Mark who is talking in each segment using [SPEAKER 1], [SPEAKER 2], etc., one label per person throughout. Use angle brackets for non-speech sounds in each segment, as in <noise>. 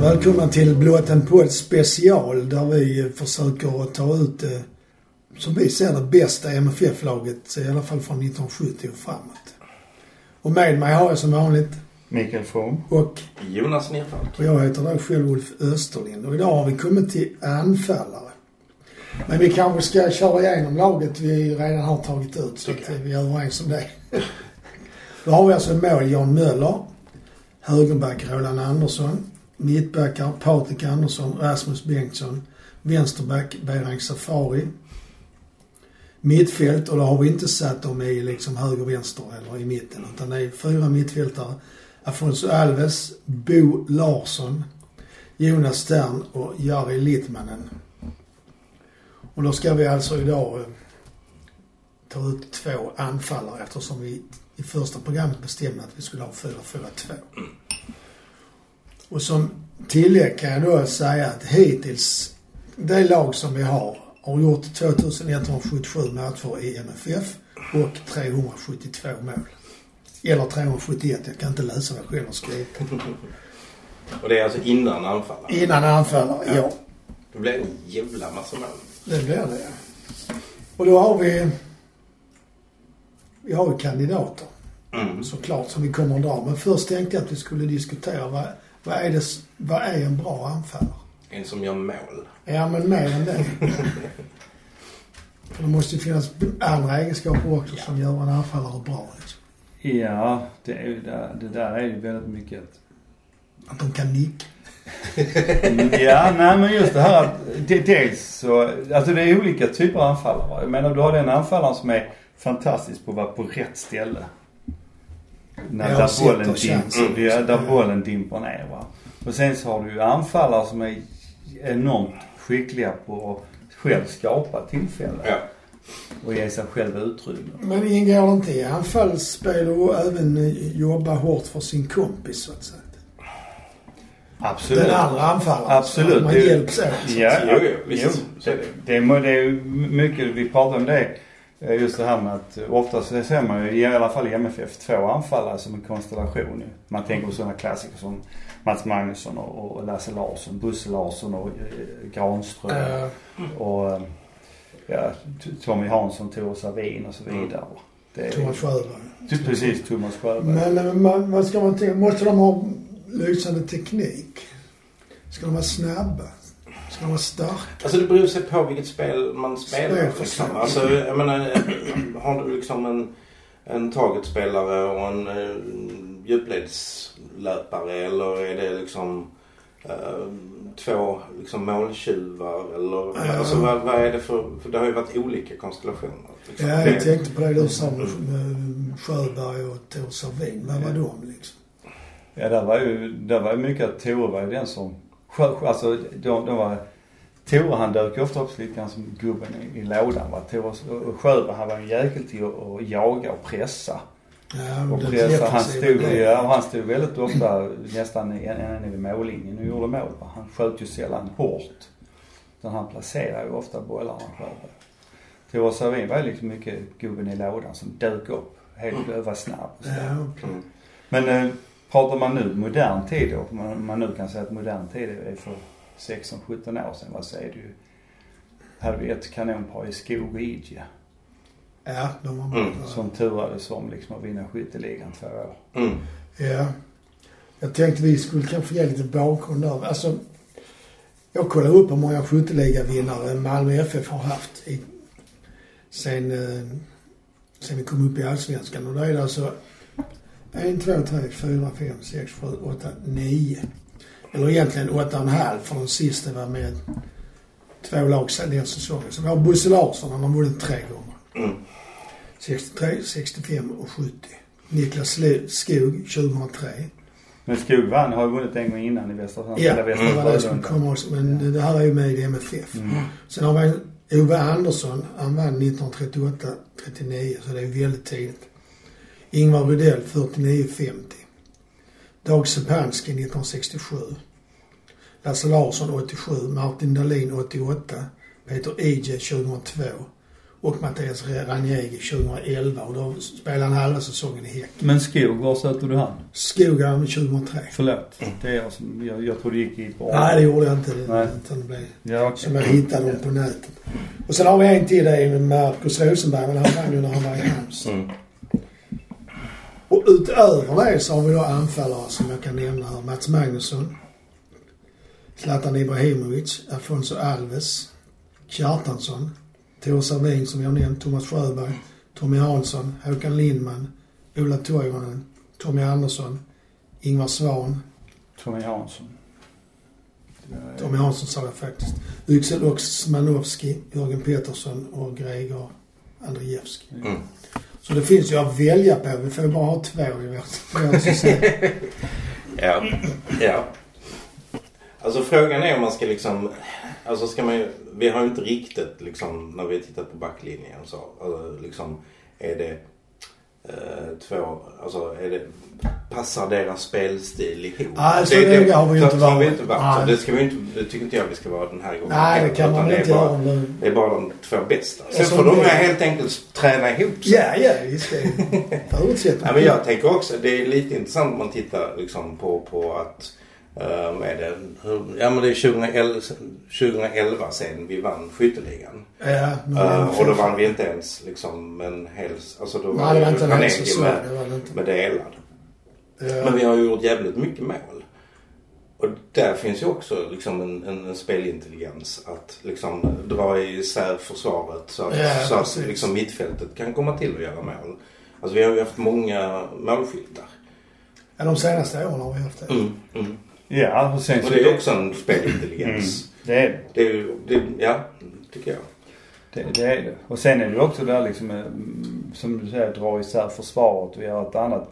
[SPEAKER 1] välkomna till Blåten podd special där vi försöker att ta ut, eh, som vi ser det, bästa MFF-laget, i alla fall från 1970 och framåt. Och med mig har jag som vanligt
[SPEAKER 2] Mikael From.
[SPEAKER 1] och,
[SPEAKER 3] Jonas Nerfalk.
[SPEAKER 1] och jag heter då själv Ulf Österlind och idag har vi kommit till anfallare. Men vi kanske ska köra igenom laget vi redan har tagit ut så att eh, vi är överens om det. <laughs> Då har vi alltså i mål Jan Möller, högerback Roland Andersson, mittbackar Patrik Andersson, Rasmus Bengtsson, vänsterback Behrang Safari. Mittfält, och då har vi inte satt dem i liksom höger-vänster eller i mitten utan det är fyra mittfältare. Afonso Alves, Bo Larsson, Jonas Stern och Jari Littmanen. Och då ska vi alltså idag eh, ta ut två anfallare eftersom vi i första programmet bestämde att vi skulle ha 4-4-2. Och som tillägg kan jag då säga att hittills det lag som vi har har gjort 2177 matcher i MFF och 372 mål. Eller 371, jag kan inte läsa vad jag själv har skrivit.
[SPEAKER 3] Och det är alltså innan anfallaren.
[SPEAKER 1] Innan anfallare, ja.
[SPEAKER 3] Det blir en jävla massa namn.
[SPEAKER 1] Det blir det. Och då har vi... Vi har ju kandidater.
[SPEAKER 3] Mm.
[SPEAKER 1] såklart som vi kommer att dra. Men först tänkte jag att vi skulle diskutera vad, vad, är, det, vad är en bra anfallare?
[SPEAKER 3] En som gör mål.
[SPEAKER 1] Ja, men mer än <laughs> det. För det måste ju finnas andra egenskaper också som gör en anfallare bra. Liksom.
[SPEAKER 2] Ja, det, är, ju där- det där är ju väldigt mycket att...
[SPEAKER 1] Att de kan nicka.
[SPEAKER 2] Ja, nej men just det här att det, dels så, alltså det är olika typer av anfallare. Jag menar du har den anfallaren som är fantastisk på att vara på rätt ställe. När
[SPEAKER 1] Ja,
[SPEAKER 2] där
[SPEAKER 1] sitter
[SPEAKER 2] bollen,
[SPEAKER 1] chansen.
[SPEAKER 2] dimper, ja, där bollen dimper ner va. Och sen så har du ju anfallare som är enormt skickliga på att själv skapa tillfällen.
[SPEAKER 3] Ja.
[SPEAKER 2] Och ge sig själva utrymme.
[SPEAKER 1] Men ingår det inte i anfallsspel och även eh, jobba hårt för sin kompis så att säga?
[SPEAKER 2] Absolut.
[SPEAKER 1] Den andra anfallaren.
[SPEAKER 2] Mm. Absolut.
[SPEAKER 1] Alltså, Man
[SPEAKER 2] Det är ju-
[SPEAKER 1] hjälps åt. så att
[SPEAKER 2] Ja,
[SPEAKER 1] säga.
[SPEAKER 3] Jo, jo, visst. Så
[SPEAKER 2] Det,
[SPEAKER 3] är det.
[SPEAKER 2] det, är, må- det är ju mycket, vi pratar om det, eh, just det här med att eh, ofta så ser man ju, i alla fall i MFF, två anfallare som en konstellation. ju. Man tänker på sådana klassiker som Mats Magnusson och, och Lasse Larsson, Bosse Larsson och eh, Granström
[SPEAKER 1] Eh,
[SPEAKER 2] och eh, ja, T- Tommy Hansson, Tore Savin och så
[SPEAKER 3] Mm.
[SPEAKER 2] vidare. Det är,
[SPEAKER 1] Thomas Sjöberg.
[SPEAKER 2] Ty- precis, Thomas Sjöberg.
[SPEAKER 1] Men eh, man, vad ska man tänka? Måste de ha lysande teknik? Ska de vara snabba? Ska de vara starka?
[SPEAKER 3] Alltså det beror sig på vilket spel man
[SPEAKER 1] Spel,
[SPEAKER 3] spelar. Liksom.
[SPEAKER 1] förstås.
[SPEAKER 3] Alltså jag menar, eh, har du liksom en, en targetspelare och en eh, djupledslöpare eller är det liksom eh, två liksom, måltjuvar eller
[SPEAKER 1] Ja.
[SPEAKER 3] alltså vad, vad är det för, för det har ju varit olika konstellationer. liksom.
[SPEAKER 1] Ja,
[SPEAKER 3] Det-
[SPEAKER 1] jag tänkte på det du sa med med Sjöberg och Tor Servin. Vad var de liksom?
[SPEAKER 2] Ja, där var ju, där var ju mycket att Tore var ju den som, alltså de, de var, Tore han dök ju ofta upp lite grann som gubben i, i lådan va. Tore och- och Sjöberg han var en jäkel till att, att jaga och pressa.
[SPEAKER 1] Ja,
[SPEAKER 2] Och
[SPEAKER 1] den
[SPEAKER 2] pressa, han
[SPEAKER 1] defensiva
[SPEAKER 2] stod,
[SPEAKER 1] delen.
[SPEAKER 2] ja, och han stod väldigt ofta nästan i- ända ner vid mållinjen och gjorde mål va. Han sköt ju sällan hårt. Utan han placerade ju ofta bollarna Sjöberg. Tore Savin var ju liksom mycket gubben i lådan som dök upp. Helt öva snabb och sådär.
[SPEAKER 1] Ja, okej.
[SPEAKER 3] Mm.
[SPEAKER 2] Men eh, pratar man nu modern tid då, om man, om man nu kan säga att modern tid är för 16-17 år sedan, vad säger du? Hade vi ett kanonpar i Skog och Idje
[SPEAKER 1] ja, de var
[SPEAKER 3] Mm,
[SPEAKER 1] bra.
[SPEAKER 2] som turades om liksom att vinna skytteligan två år.
[SPEAKER 3] Mm.
[SPEAKER 1] Ja. Jag tänkte vi skulle kanske ge lite bakgrund där. Alltså, jag kollade upp hur många skytteligavinnare Malmö FF har haft i, sen, eh, sen vi kom upp i Allsvenskan. Och då är det alltså 1, 2, 3, 4, 5, 6, 7, 8, 9. Eller egentligen 8,5 för den sista var med två lag sen den säsongen. Så vi har Bosse Larsson, han har vunnit tre gånger.
[SPEAKER 3] Mm.
[SPEAKER 1] 63, 65 och 70. Niklas Sle- Skog 2003.
[SPEAKER 2] Men Skog vann, har ju vunnit en gång innan i Västra Sand.
[SPEAKER 1] Ja,
[SPEAKER 2] eller Västra
[SPEAKER 1] det var det Mm. som
[SPEAKER 2] Frölunda.
[SPEAKER 1] kom också. Men det här är ju med i MFF. Sen har vi Ove Andersson. Han vann 1938, 39 så det är ju väldigt tidigt. Ingvar Rydell 49, 50. Dag Sepanski 1967. Lasse Larsson 87. Martin Dahlin 88. Peter Ije 2002. och Mattias Ranjegi 2011 och då spelade han halva säsongen i Häcken.
[SPEAKER 2] Men Skog, var sökte du han?
[SPEAKER 1] Skogan 2003.
[SPEAKER 2] Förlåt. Det är jag som... Jag, jag tror det gick i på
[SPEAKER 1] Mm. Nej, det gjorde jag inte.
[SPEAKER 2] Nej.
[SPEAKER 1] Utan det blev
[SPEAKER 2] Ja,
[SPEAKER 1] som
[SPEAKER 2] okej.
[SPEAKER 1] jag hittade dem på nätet. Och sen har vi en till där med Marcus Rosenberg, men han vann ju när han var i Halmstad.
[SPEAKER 3] Mm.
[SPEAKER 1] Och utöver det så har vi då anfallare som jag kan nämna här. Mats Magnusson. Zlatan Ibrahimovic. Alfonso Alves. Kjartansson. Tor Servin som jag nämnt. Thomas Sjöberg. Tommy Hansson. Håkan Lindman. Ola Toivonen. Tommy Andersson. Ingvar Svahn.
[SPEAKER 2] Tommy Hansson.
[SPEAKER 1] Tommy Hansson sa jag faktiskt. Yüksel Oxmanovski, Jörgen Peterson och Gregor Andrzejewski.
[SPEAKER 3] Mm.
[SPEAKER 1] Så det finns ju att välja på. Vi får ju bara ha två i vårt vårt system.
[SPEAKER 3] Ja. ja. Alltså frågan är om man ska liksom... Alltså ska man ju, Vi har ju inte riktigt liksom när vi tittar på backlinjen så. Alltså, liksom är det eh, två... Alltså är det... Passar deras spelstil ihop?
[SPEAKER 1] Nej, så noga har vi ju
[SPEAKER 3] så-
[SPEAKER 1] inte
[SPEAKER 3] så har vi
[SPEAKER 1] varit.
[SPEAKER 3] inte varit. Så
[SPEAKER 1] Nej.
[SPEAKER 3] det, ska vi inte, det tycker inte jag vi ska vara den här gången.
[SPEAKER 1] Nej, det kan
[SPEAKER 3] Utan
[SPEAKER 1] man väl
[SPEAKER 3] är
[SPEAKER 1] inte
[SPEAKER 3] bara-
[SPEAKER 1] göra om det...
[SPEAKER 3] Det är bara de två bästa. Sen
[SPEAKER 1] Alltså,
[SPEAKER 3] får de
[SPEAKER 1] det-
[SPEAKER 3] helt enkelt träna ihop sig.
[SPEAKER 1] Ja, ja, visst. Det är
[SPEAKER 3] Nej,
[SPEAKER 1] förutsättningar.
[SPEAKER 3] men jag tänker också, det är lite intressant om man tittar liksom på, på att eh, vad är det, hur, ja men det är 2011, 2011 sen vi vann skytteligan.
[SPEAKER 1] Ja, nu har
[SPEAKER 3] Eh,
[SPEAKER 1] jag-
[SPEAKER 3] och då vann vi inte ens liksom en hel... Alltså då
[SPEAKER 1] Nej, det var
[SPEAKER 3] ju
[SPEAKER 1] inte en hel
[SPEAKER 3] Ranegi
[SPEAKER 1] säsong.
[SPEAKER 3] med,
[SPEAKER 1] Det var det inte.
[SPEAKER 3] med delad. Men
[SPEAKER 1] Ja.
[SPEAKER 3] vi har ju gjort jävligt mycket mål. Och där finns ju också liksom en, en, en spelintelligens att liksom dra isär försvaret så att,
[SPEAKER 1] Ja,
[SPEAKER 3] så att
[SPEAKER 1] precis.
[SPEAKER 3] liksom mittfältet kan komma till och göra mål. Alltså vi har ju haft många målskyttar.
[SPEAKER 1] Ja, de senaste åren har vi haft det.
[SPEAKER 3] Mm, mm.
[SPEAKER 2] Ja, och sen
[SPEAKER 3] Och
[SPEAKER 2] så...
[SPEAKER 3] det är också en spelintelligens.
[SPEAKER 2] Det är det.
[SPEAKER 3] Det är ju, det, ja, tycker jag.
[SPEAKER 2] Det, det är det. Och sen är det ju också det här liksom, eh, som du säger, dra isär försvaret och göra ett annat.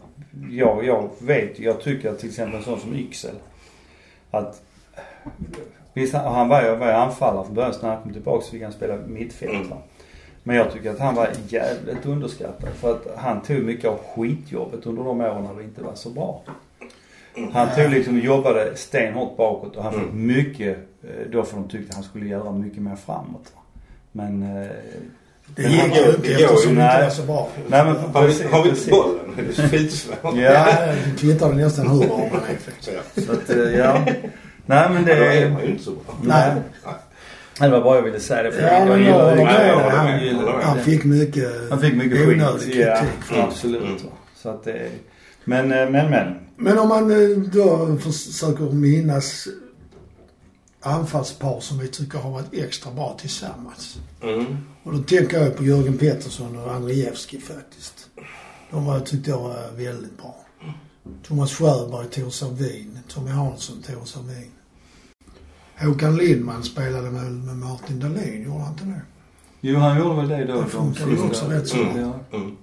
[SPEAKER 2] Jag, jag vet, jag tycker att till exempel en sån som Yxel. Att, visst, han han var ju, var ju anfallare från början. Så när han kom tillbaka så fick han spela mittfält. va. Men jag tycker att han var jävligt underskattad. För att han tog mycket av skitjobbet under de åren när det inte var så bra. Han tog liksom, jobbade stenhårt bakåt och han fick
[SPEAKER 1] Mm.
[SPEAKER 2] mycket, eh, då för de tyckte han skulle göra mycket mer framåt. va. Men eh,
[SPEAKER 1] Det
[SPEAKER 3] Men
[SPEAKER 1] gick
[SPEAKER 3] han-
[SPEAKER 1] ju inte
[SPEAKER 3] det går
[SPEAKER 1] eftersom
[SPEAKER 3] ju-
[SPEAKER 1] det inte
[SPEAKER 2] nej.
[SPEAKER 1] var så bra.
[SPEAKER 2] Nej men
[SPEAKER 3] Har vi,
[SPEAKER 2] precis,
[SPEAKER 3] har vi inte
[SPEAKER 2] precis.
[SPEAKER 3] bollen? Det är skitsvårt.
[SPEAKER 2] Ja,
[SPEAKER 1] Ja, du kvittar nästan hur bra man är.
[SPEAKER 3] Så, ja.
[SPEAKER 2] <laughs> så att, eh, ja. Nej men
[SPEAKER 3] Då är
[SPEAKER 2] det...
[SPEAKER 3] man ju inte så bra.
[SPEAKER 1] Nej.
[SPEAKER 2] Det var bara jag ville säga det för
[SPEAKER 1] Ja,
[SPEAKER 2] jag
[SPEAKER 1] men
[SPEAKER 2] gillar
[SPEAKER 1] jag
[SPEAKER 2] det.
[SPEAKER 1] håller med.
[SPEAKER 2] Jag
[SPEAKER 3] Han-
[SPEAKER 2] gillar det.
[SPEAKER 1] Han fick mycket
[SPEAKER 2] Han fick mycket skit.
[SPEAKER 1] onödig
[SPEAKER 2] Ja,
[SPEAKER 1] kritik.
[SPEAKER 3] Mm.
[SPEAKER 2] absolut. va. Så att det... Men, eh, men, men.
[SPEAKER 1] Men om man eh, då försöker minnas anfallspar som vi tycker har varit extra bra tillsammans.
[SPEAKER 3] Mm.
[SPEAKER 1] Och då tänker jag på Jörgen Pettersson och Andrzejewski faktiskt. De var, tyckte jag var väldigt bra. Thomas Sjöberg, Tor Sandin, Tommy Hansson, Tor Sandin. Håkan Lindman spelade väl med Martin Dahlin, gjorde han inte det?
[SPEAKER 2] Jo, han gjorde väl det då.
[SPEAKER 1] Det
[SPEAKER 2] de
[SPEAKER 1] funkar
[SPEAKER 2] sista-
[SPEAKER 1] också rätt så
[SPEAKER 3] bra.
[SPEAKER 2] Ja.
[SPEAKER 3] Mm.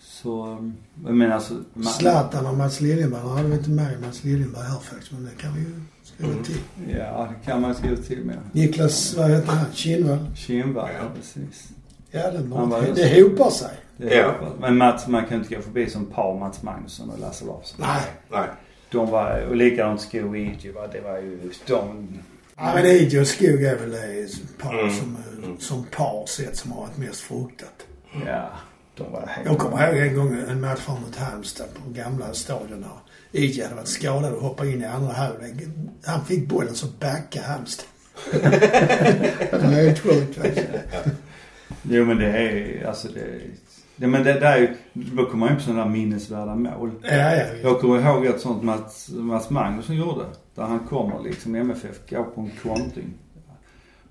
[SPEAKER 2] Så, um, men alltså... man-
[SPEAKER 1] Zlatan och Mats Liljenberg, nu hade vi inte med Mats Liljenberg här faktiskt, men det kan vi ju skriva till.
[SPEAKER 2] Ja, det kan man skriva till med.
[SPEAKER 1] Niklas, vad heter han? Kinnvall?
[SPEAKER 2] Kinberg,
[SPEAKER 3] Ja.
[SPEAKER 2] ja precis.
[SPEAKER 1] Ja, det,
[SPEAKER 2] Han var
[SPEAKER 1] var...
[SPEAKER 2] ju-
[SPEAKER 1] det hopar sig.
[SPEAKER 2] Det är
[SPEAKER 3] Ja.
[SPEAKER 2] Men Mats, man kan inte gå förbi som par Mats Magnusson och Lasse Larsson.
[SPEAKER 1] Nej.
[SPEAKER 3] Nej.
[SPEAKER 2] De var, och likadant Sko och Iji, va. Det var ju de...
[SPEAKER 1] Ja, men Idio och Skog är väl det par
[SPEAKER 3] Mm.
[SPEAKER 1] som, eh, som par sett som har varit mest fruktat.
[SPEAKER 2] Ja, de var helt...
[SPEAKER 1] Jag kommer ihåg en gång en match här mot Halmstad på gamla stadion där Idio hade varit skadad och hoppade in i andra halvlek. Han fick bollen så backade <laughs> Halmstad. det var helt sjukt faktiskt.
[SPEAKER 2] Jo men det är alltså det... det men det, det är ju... Då kommer man ju på sådana där minnesvärda mål.
[SPEAKER 1] Ja, ja. ja.
[SPEAKER 2] Jag kommer ihåg ett sånt Mats, Mats Magnusson gjorde. Där han kommer liksom, MFF går på en kontring.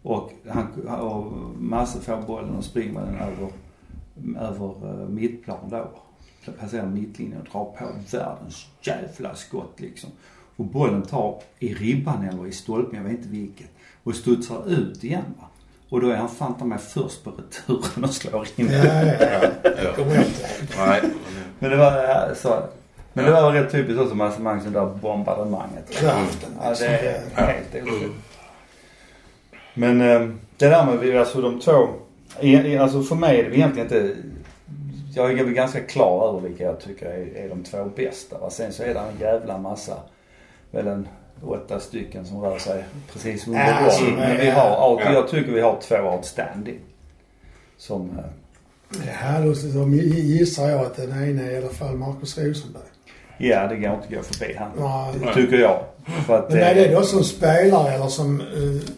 [SPEAKER 2] Och, han, och Masse får bollen och springer med den över, över eh, mittplan då. Passerar mittlinjen och drar på världens jävla skott liksom. Och bollen tar i ribban eller i stolpen, jag vet inte vilket. Och studsar ut igen va. Och då är han fan ta mig först på returen och slår in den.
[SPEAKER 1] ja, ja.
[SPEAKER 3] Ja. Ja.
[SPEAKER 1] Kommer jag inte.
[SPEAKER 3] Nej.
[SPEAKER 2] Men det var ja, så. Men det var rätt typiskt också Mats Magnusson, det där bombardemanget.
[SPEAKER 1] Kraften.
[SPEAKER 2] Ja, det
[SPEAKER 1] liksom.
[SPEAKER 2] är helt otroligt. Men eh, det där med vi- alltså de två. i- i- Alltså för mig är det egentligen inte... Jag är väl ganska klar över vilka jag tycker är, är de två bästa. Va? Sen så är det en jävla massa, väl en åtta stycken som rör sig precis under
[SPEAKER 1] Ja,
[SPEAKER 2] dem.
[SPEAKER 1] alltså,
[SPEAKER 2] Men vi har, out-
[SPEAKER 3] ja.
[SPEAKER 2] jag tycker vi har två outstanding. som... eh,
[SPEAKER 1] Ja, då så gissar jag att den ena är i alla fall Marcus Rosenberg.
[SPEAKER 2] Ja, det går inte att gå förbi han.
[SPEAKER 1] Ja,
[SPEAKER 3] Nej.
[SPEAKER 2] Tycker jag. För att,
[SPEAKER 1] men är det
[SPEAKER 2] eh,
[SPEAKER 1] då som spelare eller som, eh,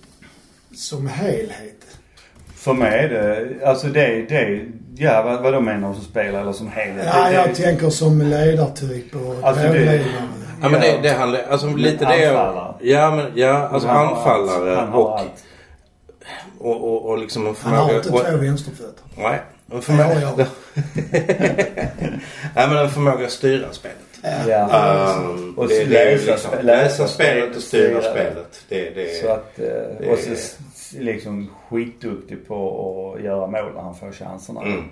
[SPEAKER 1] som helhet?
[SPEAKER 2] För mig är det... Alltså det... det ja, vad, vad de menar som spelare eller som helhet.
[SPEAKER 1] Ja,
[SPEAKER 2] det,
[SPEAKER 1] jag
[SPEAKER 2] det,
[SPEAKER 1] tänker som ledartyp och
[SPEAKER 2] Alltså, det-
[SPEAKER 1] pådrivare.
[SPEAKER 3] Ja, men det, det handlar... Alltså lite det...
[SPEAKER 2] Anfallare.
[SPEAKER 3] Ja, men ja, alltså
[SPEAKER 2] han har
[SPEAKER 3] anfallare
[SPEAKER 2] allt. Han har
[SPEAKER 3] och,
[SPEAKER 2] allt.
[SPEAKER 3] och, och, och liksom en
[SPEAKER 1] Han har
[SPEAKER 3] förmåga...
[SPEAKER 1] inte
[SPEAKER 3] och-
[SPEAKER 1] två vänsterfötter.
[SPEAKER 3] Nej. En
[SPEAKER 1] Det
[SPEAKER 3] förmåga...
[SPEAKER 1] har jag.
[SPEAKER 3] <laughs> Nej, men en förmåga att styra spelet.
[SPEAKER 2] Ja.
[SPEAKER 3] Ehm,
[SPEAKER 2] Och
[SPEAKER 3] det, det är ju
[SPEAKER 2] läsa
[SPEAKER 3] liksom,
[SPEAKER 2] spe- läsa
[SPEAKER 3] läsa spelet och styra
[SPEAKER 2] styra.
[SPEAKER 3] spelet. Det, det,
[SPEAKER 2] Så att, eh, och så s- s- liksom skitduktig på att göra mål när han får chanserna.
[SPEAKER 3] mm.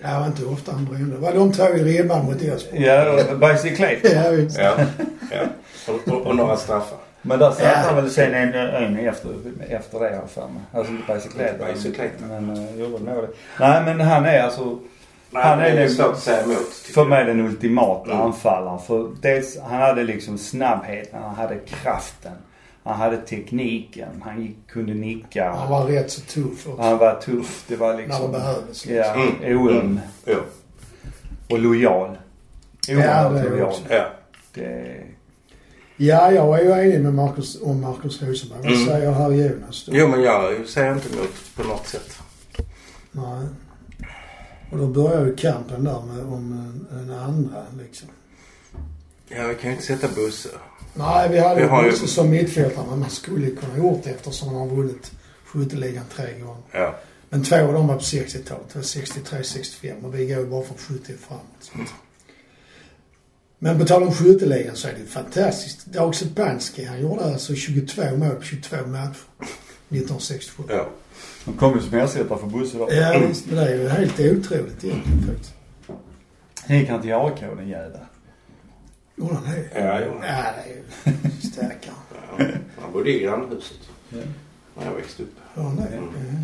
[SPEAKER 1] Ja, det var inte ofta han brände. Var de två i ribban mot Elfsborg?
[SPEAKER 2] Ja, Bajs i Clayton.
[SPEAKER 1] Ja, visst.
[SPEAKER 3] Ja, ja. Och, och, och några straffar.
[SPEAKER 2] Men där satt
[SPEAKER 1] Ja.
[SPEAKER 2] han väl sen en, en efter, efter det har jag för mig. Alltså inte bicycleta.
[SPEAKER 3] Mm. Inte bicycleta.
[SPEAKER 2] Men uh, gjorde målet. Nej men han är alltså
[SPEAKER 3] Nej,
[SPEAKER 2] Han är
[SPEAKER 3] det
[SPEAKER 2] nog-
[SPEAKER 3] svårt att säga emot. tycker
[SPEAKER 2] för
[SPEAKER 3] jag.
[SPEAKER 2] mig den ultimata
[SPEAKER 3] Mm.
[SPEAKER 2] anfallaren. För dels, han hade liksom snabbheten, han hade kraften. Han hade tekniken, han gick, kunde nicka.
[SPEAKER 1] Han var rätt så tuff också.
[SPEAKER 2] Han var tuff. Det var
[SPEAKER 1] När det
[SPEAKER 2] liksom...
[SPEAKER 1] behövdes.
[SPEAKER 2] Ja,
[SPEAKER 3] Mm.
[SPEAKER 2] oöm
[SPEAKER 3] Jo,
[SPEAKER 2] och lojal.
[SPEAKER 1] Ja, det
[SPEAKER 2] Oerhört
[SPEAKER 1] är
[SPEAKER 2] lojal.
[SPEAKER 1] också.
[SPEAKER 3] ja.
[SPEAKER 2] Det,
[SPEAKER 1] Ja, jag är ju enig med Marcus, om Marcus Rosenberg. Vad
[SPEAKER 3] Mm.
[SPEAKER 1] säger herr Jonas då?
[SPEAKER 3] jo, men jag säger inte emot på något sätt.
[SPEAKER 1] Nej. Och då börjar ju kampen där med, om en, en andra liksom.
[SPEAKER 3] Ja, vi kan ju inte sätta Bosse.
[SPEAKER 1] Nej, vi hade
[SPEAKER 3] Vi
[SPEAKER 1] ju
[SPEAKER 3] har ju-
[SPEAKER 1] Bosse som mittfältare men man skulle ju kunna gjort det eftersom han har vunnit skytteligan tre gånger.
[SPEAKER 3] Ja.
[SPEAKER 1] Men två av dem var på 60-talet. Det var 63, 65 och vi går ju bara från 70 framåt.
[SPEAKER 3] Mm.
[SPEAKER 1] Men på tal om skytteligan så är det ju fantastiskt. Dag Sepanski, han gjorde alltså 22 mål på 22 matcher 1967.
[SPEAKER 3] ja.
[SPEAKER 2] de kom ju som ersättare för Bosse då.
[SPEAKER 1] Ja, visst. Men det är ju helt otroligt egentligen faktiskt.
[SPEAKER 2] Sen gick han till AIK den jäveln.
[SPEAKER 1] Gjorde han det?
[SPEAKER 3] Ja, jo.
[SPEAKER 1] Ja, det är ju
[SPEAKER 3] <laughs>
[SPEAKER 1] stärkare.
[SPEAKER 3] Ja. Han bodde i grannhuset
[SPEAKER 2] Ja.
[SPEAKER 3] när jag växte upp.
[SPEAKER 1] Gjorde han det? Ja. Mm.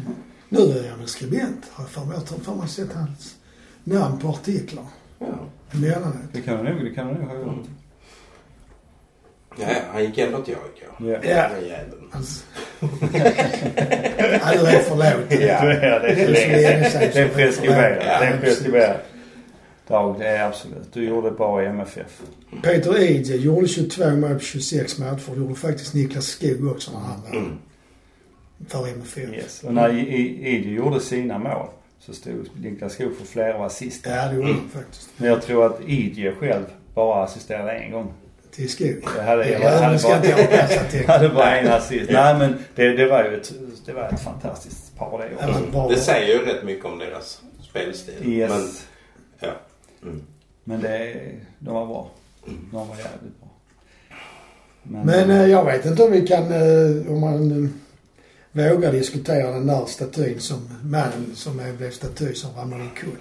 [SPEAKER 1] Nu är han väl skribent, har jag för mig. Jag har för mig sett hans namn på artiklar.
[SPEAKER 3] Ja.
[SPEAKER 1] Emellanåt.
[SPEAKER 2] Det kan han nog, det kan han nog ha gjort.
[SPEAKER 3] Ja, han gick ändå till AIK.
[SPEAKER 2] <laughs> Ja.
[SPEAKER 1] Ja.
[SPEAKER 3] Den jäveln.
[SPEAKER 1] <laughs> Alltså. ja, du är förlåten.
[SPEAKER 2] Ja, det är
[SPEAKER 1] Det är så länge sedan.
[SPEAKER 2] det är preskriberat.
[SPEAKER 3] Ja,
[SPEAKER 2] Det är
[SPEAKER 1] precis.
[SPEAKER 2] preskriberat. Dag, det är absolut. Du gjorde det bra i MFF.
[SPEAKER 1] Peter Ije gjorde 22 mål på 26 matcher. Det gjorde faktiskt Niklas Skog också när han var
[SPEAKER 3] Mm.
[SPEAKER 1] för MFF.
[SPEAKER 2] Yes. Och när I- I- Idi gjorde sina mål så stod Niklas Skog för flera assist.
[SPEAKER 1] Ja, det
[SPEAKER 2] Mm.
[SPEAKER 1] gjorde han faktiskt.
[SPEAKER 2] Men jag tror att Idi själv bara assisterade en gång.
[SPEAKER 1] Till Skog.
[SPEAKER 2] Det hade,
[SPEAKER 1] Ja,
[SPEAKER 2] hade
[SPEAKER 1] men ska
[SPEAKER 2] bara-
[SPEAKER 1] inte jag
[SPEAKER 2] <laughs>
[SPEAKER 1] läsa till.
[SPEAKER 2] hade bara en assist. Nej men det, det var ju ett, det var ett fantastiskt par det året.
[SPEAKER 1] Eller bara-
[SPEAKER 3] Det säger ju rätt mycket om deras spelstil. Men,
[SPEAKER 2] Yes.
[SPEAKER 3] ja. Mm.
[SPEAKER 2] Men det, de var bra. De var jävligt bra.
[SPEAKER 1] Men eh, jag vet inte om vi kan, eh, om man eh, vågar diskutera den där statyn som, mannen som är- blev staty som ramlade omkull.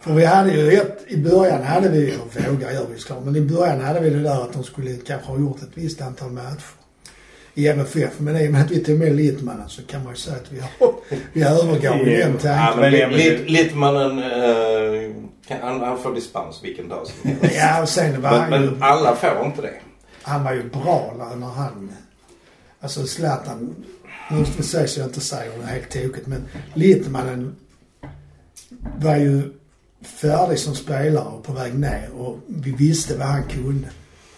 [SPEAKER 1] För vi hade ju ett, i början hade vi, eller vågar gör vi såklart, men i början hade vi det där att de skulle kanske ha gjort ett visst antal matcher i MFF. Men i och med att vi tog med Littmannen så kan man ju säga att vi, har, vi övergav ju den
[SPEAKER 3] Ja,
[SPEAKER 1] tanken.
[SPEAKER 2] Men
[SPEAKER 3] men, li-
[SPEAKER 2] det- men det-
[SPEAKER 3] li- Littmannen, eh, kan- han, han får dispens vilken dag som helst.
[SPEAKER 1] Ja, och sen var
[SPEAKER 3] Men,
[SPEAKER 1] han ju,
[SPEAKER 3] men alla får inte det.
[SPEAKER 1] han var ju bra när- när han, alltså Zlatan, nu ska vi säga så jag inte säger det helt tokigt, men Littmannen var ju färdig som spelare och på väg ner och vi visste vad han kunde.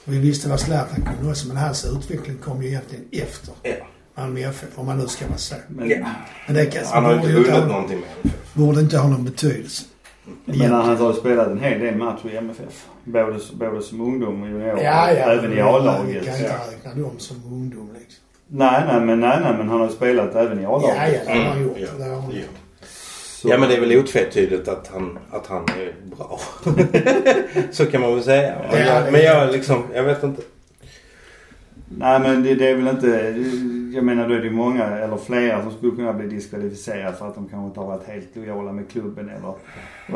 [SPEAKER 1] Och vi visste vad Zlatan kunde också, men hans utveckling kom ju egentligen efter
[SPEAKER 3] Ja.
[SPEAKER 1] Malmö FF, om man nu ska vara så.
[SPEAKER 2] Men-
[SPEAKER 3] Ja.
[SPEAKER 1] Men det kan,
[SPEAKER 3] Han har ju
[SPEAKER 1] borde,
[SPEAKER 3] inte
[SPEAKER 1] ju inte
[SPEAKER 3] vunnit
[SPEAKER 1] ha,
[SPEAKER 3] någonting med MFF.
[SPEAKER 1] borde inte ha någon betydelse.
[SPEAKER 2] Men han har ju spelat en hel del matcher i MFF. Både, både som ungdom och junior.
[SPEAKER 1] Ja, ja.
[SPEAKER 2] även i
[SPEAKER 1] Vi kan
[SPEAKER 2] A-laget.
[SPEAKER 1] inte räkna dem som ungdom liksom.
[SPEAKER 2] Nej, nej, men, nej, nej, men han har ju spelat även i A-laget.
[SPEAKER 1] Ja, ja, det har han
[SPEAKER 3] Mm,
[SPEAKER 1] gjort.
[SPEAKER 3] ja,
[SPEAKER 1] Det har han
[SPEAKER 3] ja.
[SPEAKER 1] gjort.
[SPEAKER 2] Så-
[SPEAKER 3] Ja men det är väl otvetydigt att han, att han är bra. <laughs> så kan man väl säga.
[SPEAKER 1] Ja,
[SPEAKER 3] Men
[SPEAKER 1] det-
[SPEAKER 3] jag, men jag liksom, jag vet inte.
[SPEAKER 2] Nej, men det, det är väl inte... Jag menar, då är det ju många, eller flera, som skulle kunna bli diskvalificerade för att de kanske inte har varit helt lojala med klubben eller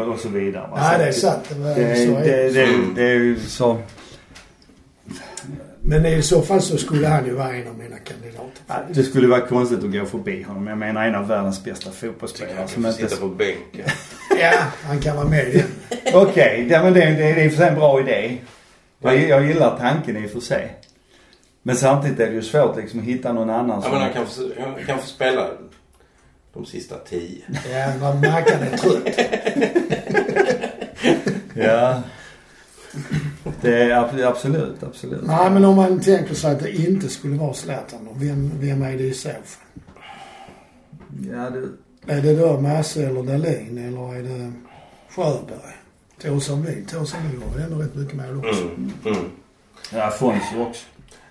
[SPEAKER 2] och, och så vidare. va.
[SPEAKER 1] Nej,
[SPEAKER 2] Så
[SPEAKER 1] det är
[SPEAKER 2] att-
[SPEAKER 1] sant. Det, var-
[SPEAKER 2] Alltså, Det, det,
[SPEAKER 1] så är det.
[SPEAKER 2] det,
[SPEAKER 3] Mm.
[SPEAKER 2] det, det är ju så...
[SPEAKER 1] Men i så fall så skulle han ju vara en av mina kandidater.
[SPEAKER 2] Ja, Det skulle vara konstigt att gå förbi honom. Jag menar en av världens bästa fotbollsspelare
[SPEAKER 3] Han
[SPEAKER 2] som
[SPEAKER 3] får
[SPEAKER 2] inte...
[SPEAKER 3] sitta på bänken.
[SPEAKER 1] Ja, han kan vara med i den.
[SPEAKER 2] Okej, det, men det, det, det är i och för sig en bra idé. Jag, jag gillar tanken i och för sig. Men samtidigt är det ju svårt liksom att hitta någon annan
[SPEAKER 3] Ja men han kan, få- han kan få spela de sista tio.
[SPEAKER 1] Ja, när Mackan är trött.
[SPEAKER 2] Ja. Det är ab- absolut, absolut.
[SPEAKER 1] Nej, men om man tänker sig att det inte skulle vara Zlatan då, vem, vem är det i så fall?
[SPEAKER 2] Ja, det...
[SPEAKER 1] Är det då Masse eller Dahlin eller är det Sjöberg? Torshamn Torshamn gjorde ändå rätt mycket mål också.
[SPEAKER 3] Mm. Mm.
[SPEAKER 2] Ja, Afonso också.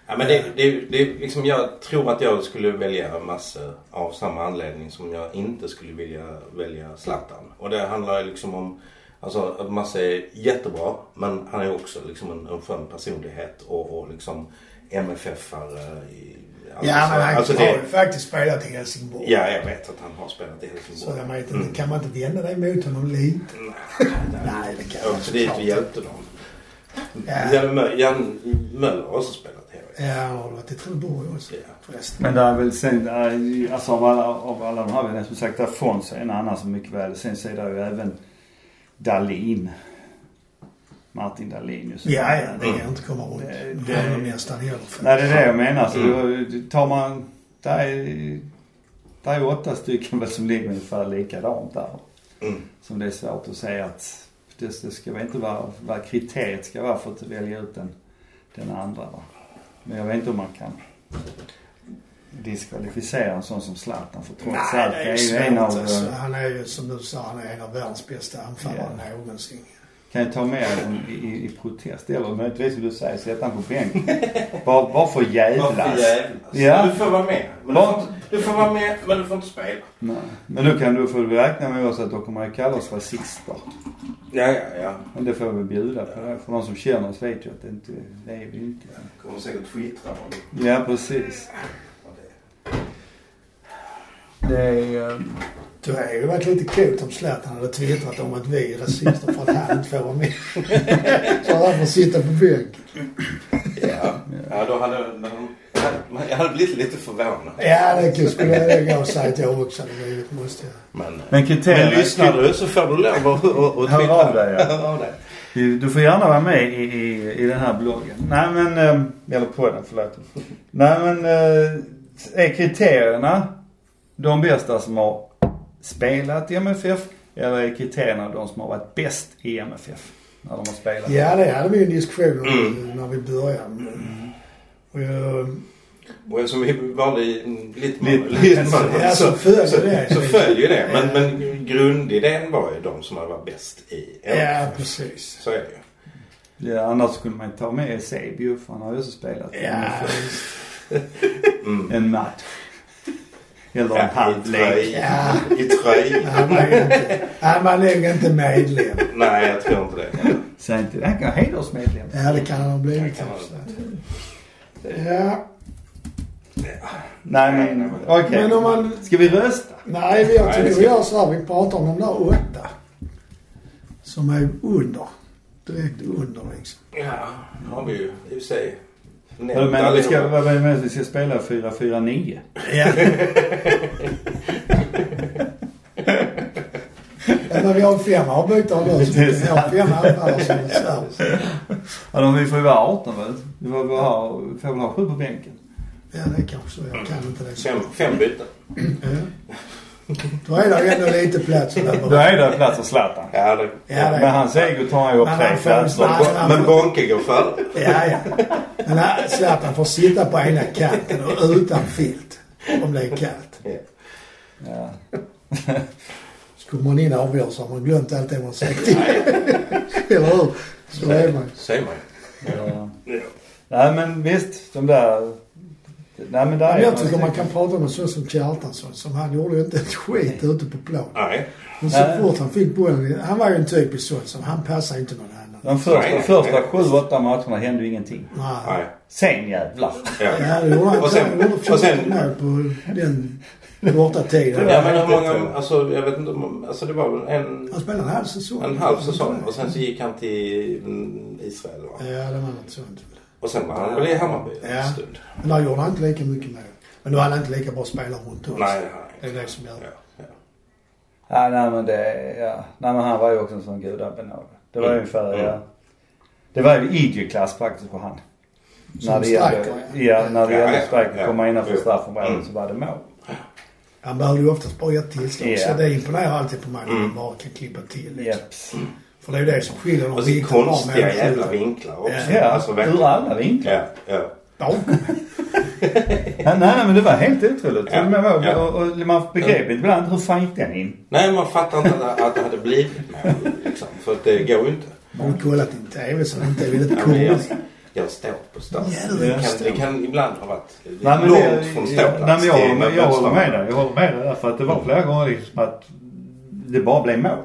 [SPEAKER 3] Ja, men det, det, det, är liksom, jag tror att jag skulle välja massor av samma anledning som jag inte skulle vilja välja Zlatan. Och det handlar liksom om alltså, att Massa är jättebra men han är också liksom en, en skön personlighet och, och liksom MFF-are. i- Alltså,
[SPEAKER 1] Ja, men han
[SPEAKER 3] alltså,
[SPEAKER 1] har ju
[SPEAKER 3] det,
[SPEAKER 1] faktiskt spelat i Helsingborg.
[SPEAKER 3] ja, Mm. jag vet att han har spelat i
[SPEAKER 1] Så
[SPEAKER 3] Helsingborg.
[SPEAKER 1] jag vet inte, kan man inte vända det mot honom lite?
[SPEAKER 3] Mm.
[SPEAKER 1] <laughs> Nej, det kan
[SPEAKER 3] Jag
[SPEAKER 1] man
[SPEAKER 3] åkte dit och
[SPEAKER 1] såklart.
[SPEAKER 3] hjälpte dem.
[SPEAKER 1] Ja,
[SPEAKER 3] Jan, Mö- Jan Möller har också spelat här.
[SPEAKER 1] ja han har varit i Trelleborg också
[SPEAKER 3] Ja.
[SPEAKER 1] förresten.
[SPEAKER 2] Men det är väl sen, eh, alltså av alla, av alla de här vännerna, som sagt Afonso är en annan som mycket väl. Sen så är det ju även Dahlin. Martin Dahlin just
[SPEAKER 1] Ja, ja, det kan
[SPEAKER 3] Mm.
[SPEAKER 1] jag inte komma runt.
[SPEAKER 2] Det-
[SPEAKER 1] Det
[SPEAKER 2] det-
[SPEAKER 1] är nästan heller. för-
[SPEAKER 2] Nej, det är det jag menar. Så
[SPEAKER 3] Mm.
[SPEAKER 2] då tar man... Det är, det är åtta stycken väl som ligger ungefär likadant där.
[SPEAKER 3] Mm.
[SPEAKER 2] Som det är svårt att säga att det, det ska väl inte vara vad kriteriet ska vara för att välja ut den, den andra. Va? Men jag vet inte om man kan diskvalificera en sån som Zlatan för trots
[SPEAKER 1] Nej,
[SPEAKER 2] allt. Det är ju
[SPEAKER 1] svårt,
[SPEAKER 2] en av... eh,
[SPEAKER 1] alltså. Han är ju, som du sa, han är en av världens bästa anfallare någonsin.
[SPEAKER 2] Kan jag ta med den i, i, i protest eller möjligtvis som du säger sätta honom på bänken. Bara, bara för
[SPEAKER 3] Varför
[SPEAKER 2] jävlas.
[SPEAKER 3] jävlas?
[SPEAKER 2] Ja.
[SPEAKER 3] Du får vara med. Men du, får, du får vara med men du får inte spela.
[SPEAKER 2] Nej. Men nu kan du få räkna med oss att då kommer jag kalla oss rasister.
[SPEAKER 3] Ja, ja, ja.
[SPEAKER 2] Men det får vi bjuda på. Det. För de som känner oss vet ju att det inte det är vi inte.
[SPEAKER 3] Kommer säkert twittra om det.
[SPEAKER 2] Ja, precis.
[SPEAKER 3] om det.
[SPEAKER 2] Det är... eh,
[SPEAKER 1] Det hade ju varit lite coolt om Zlatan hade twittrat om att vi är rasister för att han inte får vara
[SPEAKER 2] <laughs>
[SPEAKER 1] med. Så han får sitta på bänken.
[SPEAKER 3] Ja. ja, då hade man, jag hade blivit lite förvånad.
[SPEAKER 1] Ja, det skulle- skulle jag säga att jag också hade blivit, måste jag.
[SPEAKER 3] Men,
[SPEAKER 2] Men
[SPEAKER 3] men
[SPEAKER 2] kriterierna...
[SPEAKER 3] lyssnar du så får du lov att- att att
[SPEAKER 2] Hör
[SPEAKER 3] twittra.
[SPEAKER 2] av dig, ja.
[SPEAKER 3] Hör av dig.
[SPEAKER 2] Du får gärna vara med i, i, i den här bloggen. Nej men, eh, eller podden, förlåt. Nej men, eh, är kriterierna de bästa som har spelat i MFF? Eller är kriterierna de som har varit bäst i MFF? När de har spelat?
[SPEAKER 1] Ja, det hade vi ju en diskussion om
[SPEAKER 3] Mm.
[SPEAKER 1] när vi började.
[SPEAKER 2] Mm.
[SPEAKER 1] Och eh, jag,
[SPEAKER 3] Och eftersom vi valde lite
[SPEAKER 2] Lite-
[SPEAKER 1] ja, så följer det.
[SPEAKER 3] så följer det. Men, men grundidén var ju de som hade varit bäst i
[SPEAKER 1] Ja, precis.
[SPEAKER 3] Så är det ju.
[SPEAKER 2] Ja, annars kunde man ju ta med Eusebio för han har ju också spelat i
[SPEAKER 1] Ja,
[SPEAKER 2] MFF.
[SPEAKER 3] Mm.
[SPEAKER 2] en match. Eller en
[SPEAKER 3] Ja, I
[SPEAKER 2] halvlek.
[SPEAKER 1] Ja.
[SPEAKER 3] tröj- i tröj.
[SPEAKER 1] han var ju inte, han var nog inte medlem.
[SPEAKER 3] Nej, jag tror inte det.
[SPEAKER 2] Säg inte det. Han kan vara hedersmedlem.
[SPEAKER 1] Ja, det kan han ha blivit.
[SPEAKER 3] Det kan han.
[SPEAKER 1] kanske. Ja,
[SPEAKER 2] Nej men okej.
[SPEAKER 1] men om man...
[SPEAKER 2] Ska vi rösta?
[SPEAKER 1] Nej, vi- jag
[SPEAKER 3] Nej,
[SPEAKER 1] tycker
[SPEAKER 3] det
[SPEAKER 1] vi
[SPEAKER 3] ska-
[SPEAKER 1] gör så här. Vi pratar om de där åtta. Som är under. Direkt under liksom.
[SPEAKER 3] Ja, har vi ju i och för sig nämnt
[SPEAKER 2] Vad menar vi ska,
[SPEAKER 3] allihopa.
[SPEAKER 2] vad menar du att vi ska spela 4-4-9?
[SPEAKER 1] Ja. Men vi har fem avbytare nu. så Vi har fem anfallare som reserv.
[SPEAKER 2] Ja, de, vi får ju vara 18 väl? Vi får, väl ha, vi får väl ha 7 på bänken?
[SPEAKER 1] Ja, det är kanske så. Jag kan inte det. så.
[SPEAKER 3] Fem, fem byten.
[SPEAKER 1] Ja. Då är det ändå lite plats
[SPEAKER 2] Då
[SPEAKER 1] över.
[SPEAKER 2] är det plats för Zlatan.
[SPEAKER 3] Ja, det,
[SPEAKER 1] Ja, det-
[SPEAKER 2] Med hans ego tar han ju upp
[SPEAKER 1] Men
[SPEAKER 2] tre
[SPEAKER 1] han får-
[SPEAKER 2] platser.
[SPEAKER 1] nej.
[SPEAKER 3] Bo- Men Bonke går före.
[SPEAKER 1] Ja, ja. Men här, Zlatan får sitta på ena kanten och utan filt. Om det är kallt.
[SPEAKER 3] Ja.
[SPEAKER 2] Ja.
[SPEAKER 1] Så kommer man in och avgör så har man glömt allt det man sagt. <laughs> Eller hur? Så är man.
[SPEAKER 3] Säger man ju.
[SPEAKER 2] Ja.
[SPEAKER 3] Ja.
[SPEAKER 2] Nej men visst, de där... Nej men där
[SPEAKER 1] Men
[SPEAKER 2] är
[SPEAKER 1] jag tycker man kan prata om en sån som Kjartansson. Som han gjorde ju inte ett skit ute på plan.
[SPEAKER 3] Nej.
[SPEAKER 1] Men så
[SPEAKER 2] Nej.
[SPEAKER 1] fort han fick bollen. Han var ju en typisk sån som han passar inte någon annan.
[SPEAKER 2] De första,
[SPEAKER 3] Nej.
[SPEAKER 2] första 7-8 matcherna hände ju ingenting.
[SPEAKER 1] Nej.
[SPEAKER 3] Nej.
[SPEAKER 2] Sen jävlar.
[SPEAKER 3] Ja.
[SPEAKER 1] Ja, det gjorde han.
[SPEAKER 3] Och sen-
[SPEAKER 1] Han gjorde
[SPEAKER 3] och sen-
[SPEAKER 1] 14 mål på den korta tiden.
[SPEAKER 3] Ja, men hur många, alltså jag vet inte om, alltså det var väl en,
[SPEAKER 1] Han spelade en halv säsong.
[SPEAKER 3] en halv säsong och sen så gick han till mm, Israel va?
[SPEAKER 1] Ja, det var något sånt.
[SPEAKER 3] Och sen var han väl i Hammarby
[SPEAKER 1] Ja.
[SPEAKER 3] en stund.
[SPEAKER 1] Men där gjorde han inte lika mycket mål. Men då hade han inte lika bra spelare runt om
[SPEAKER 3] Nej,
[SPEAKER 1] sig. Det
[SPEAKER 3] nej.
[SPEAKER 1] är det som gör
[SPEAKER 3] Ja,
[SPEAKER 1] det.
[SPEAKER 3] ja.
[SPEAKER 2] Ja, nej men det, ja. Nej men han var ju också en sån gudabenådad. Det var
[SPEAKER 3] Mm.
[SPEAKER 2] ungefär,
[SPEAKER 3] Mm.
[SPEAKER 2] ja. Det var ju idioklass praktiskt på han.
[SPEAKER 1] Som
[SPEAKER 2] när det gällde,
[SPEAKER 1] striker, ja.
[SPEAKER 2] ja, när det
[SPEAKER 3] Ja,
[SPEAKER 2] gällde
[SPEAKER 3] ja,
[SPEAKER 2] striker,
[SPEAKER 3] ja.
[SPEAKER 2] komma innanför
[SPEAKER 3] Jo.
[SPEAKER 2] straffområdet
[SPEAKER 3] Mm.
[SPEAKER 2] så var det mål.
[SPEAKER 1] Han behöver ju oftast bara ett tillslag.
[SPEAKER 2] Ja.
[SPEAKER 1] Så det imponerar alltid på mig när
[SPEAKER 3] Mm.
[SPEAKER 1] man bara kan klippa till liksom.
[SPEAKER 2] Japs.
[SPEAKER 1] För det är ju det som skiljer dem.
[SPEAKER 3] Och så
[SPEAKER 1] riktigt bra
[SPEAKER 3] konstiga
[SPEAKER 1] människor.
[SPEAKER 3] jävla vinklar också.
[SPEAKER 2] Ja,
[SPEAKER 3] Alltså verkligen.
[SPEAKER 2] ur alla vinklar.
[SPEAKER 3] Ja, ja.
[SPEAKER 1] Bakom.
[SPEAKER 2] Ja, nej, nej, men det var helt otroligt.
[SPEAKER 3] Ja,
[SPEAKER 2] Men, och,
[SPEAKER 3] ja.
[SPEAKER 2] och, och man begrep ibland hur fan gick den in?
[SPEAKER 3] Nej, man fattar inte att, att det hade blivit med liksom. För att det går ju inte.
[SPEAKER 1] Har du kollat din TV så det inte är väldigt
[SPEAKER 3] Ja, men jag,
[SPEAKER 1] konstigt?
[SPEAKER 3] jag står på stan.
[SPEAKER 1] Jävlar,
[SPEAKER 3] Det kan,
[SPEAKER 1] stå.
[SPEAKER 3] det kan ibland ha varit lite
[SPEAKER 2] Nej, men
[SPEAKER 3] långt
[SPEAKER 2] det-
[SPEAKER 3] från
[SPEAKER 2] ja, Nej,
[SPEAKER 3] ståplats.
[SPEAKER 2] men
[SPEAKER 3] till
[SPEAKER 2] jag, jag håller
[SPEAKER 3] mötesplats.
[SPEAKER 2] med dig. Jag håller med dig där, för att det var flera gånger liksom att det bara blev mål.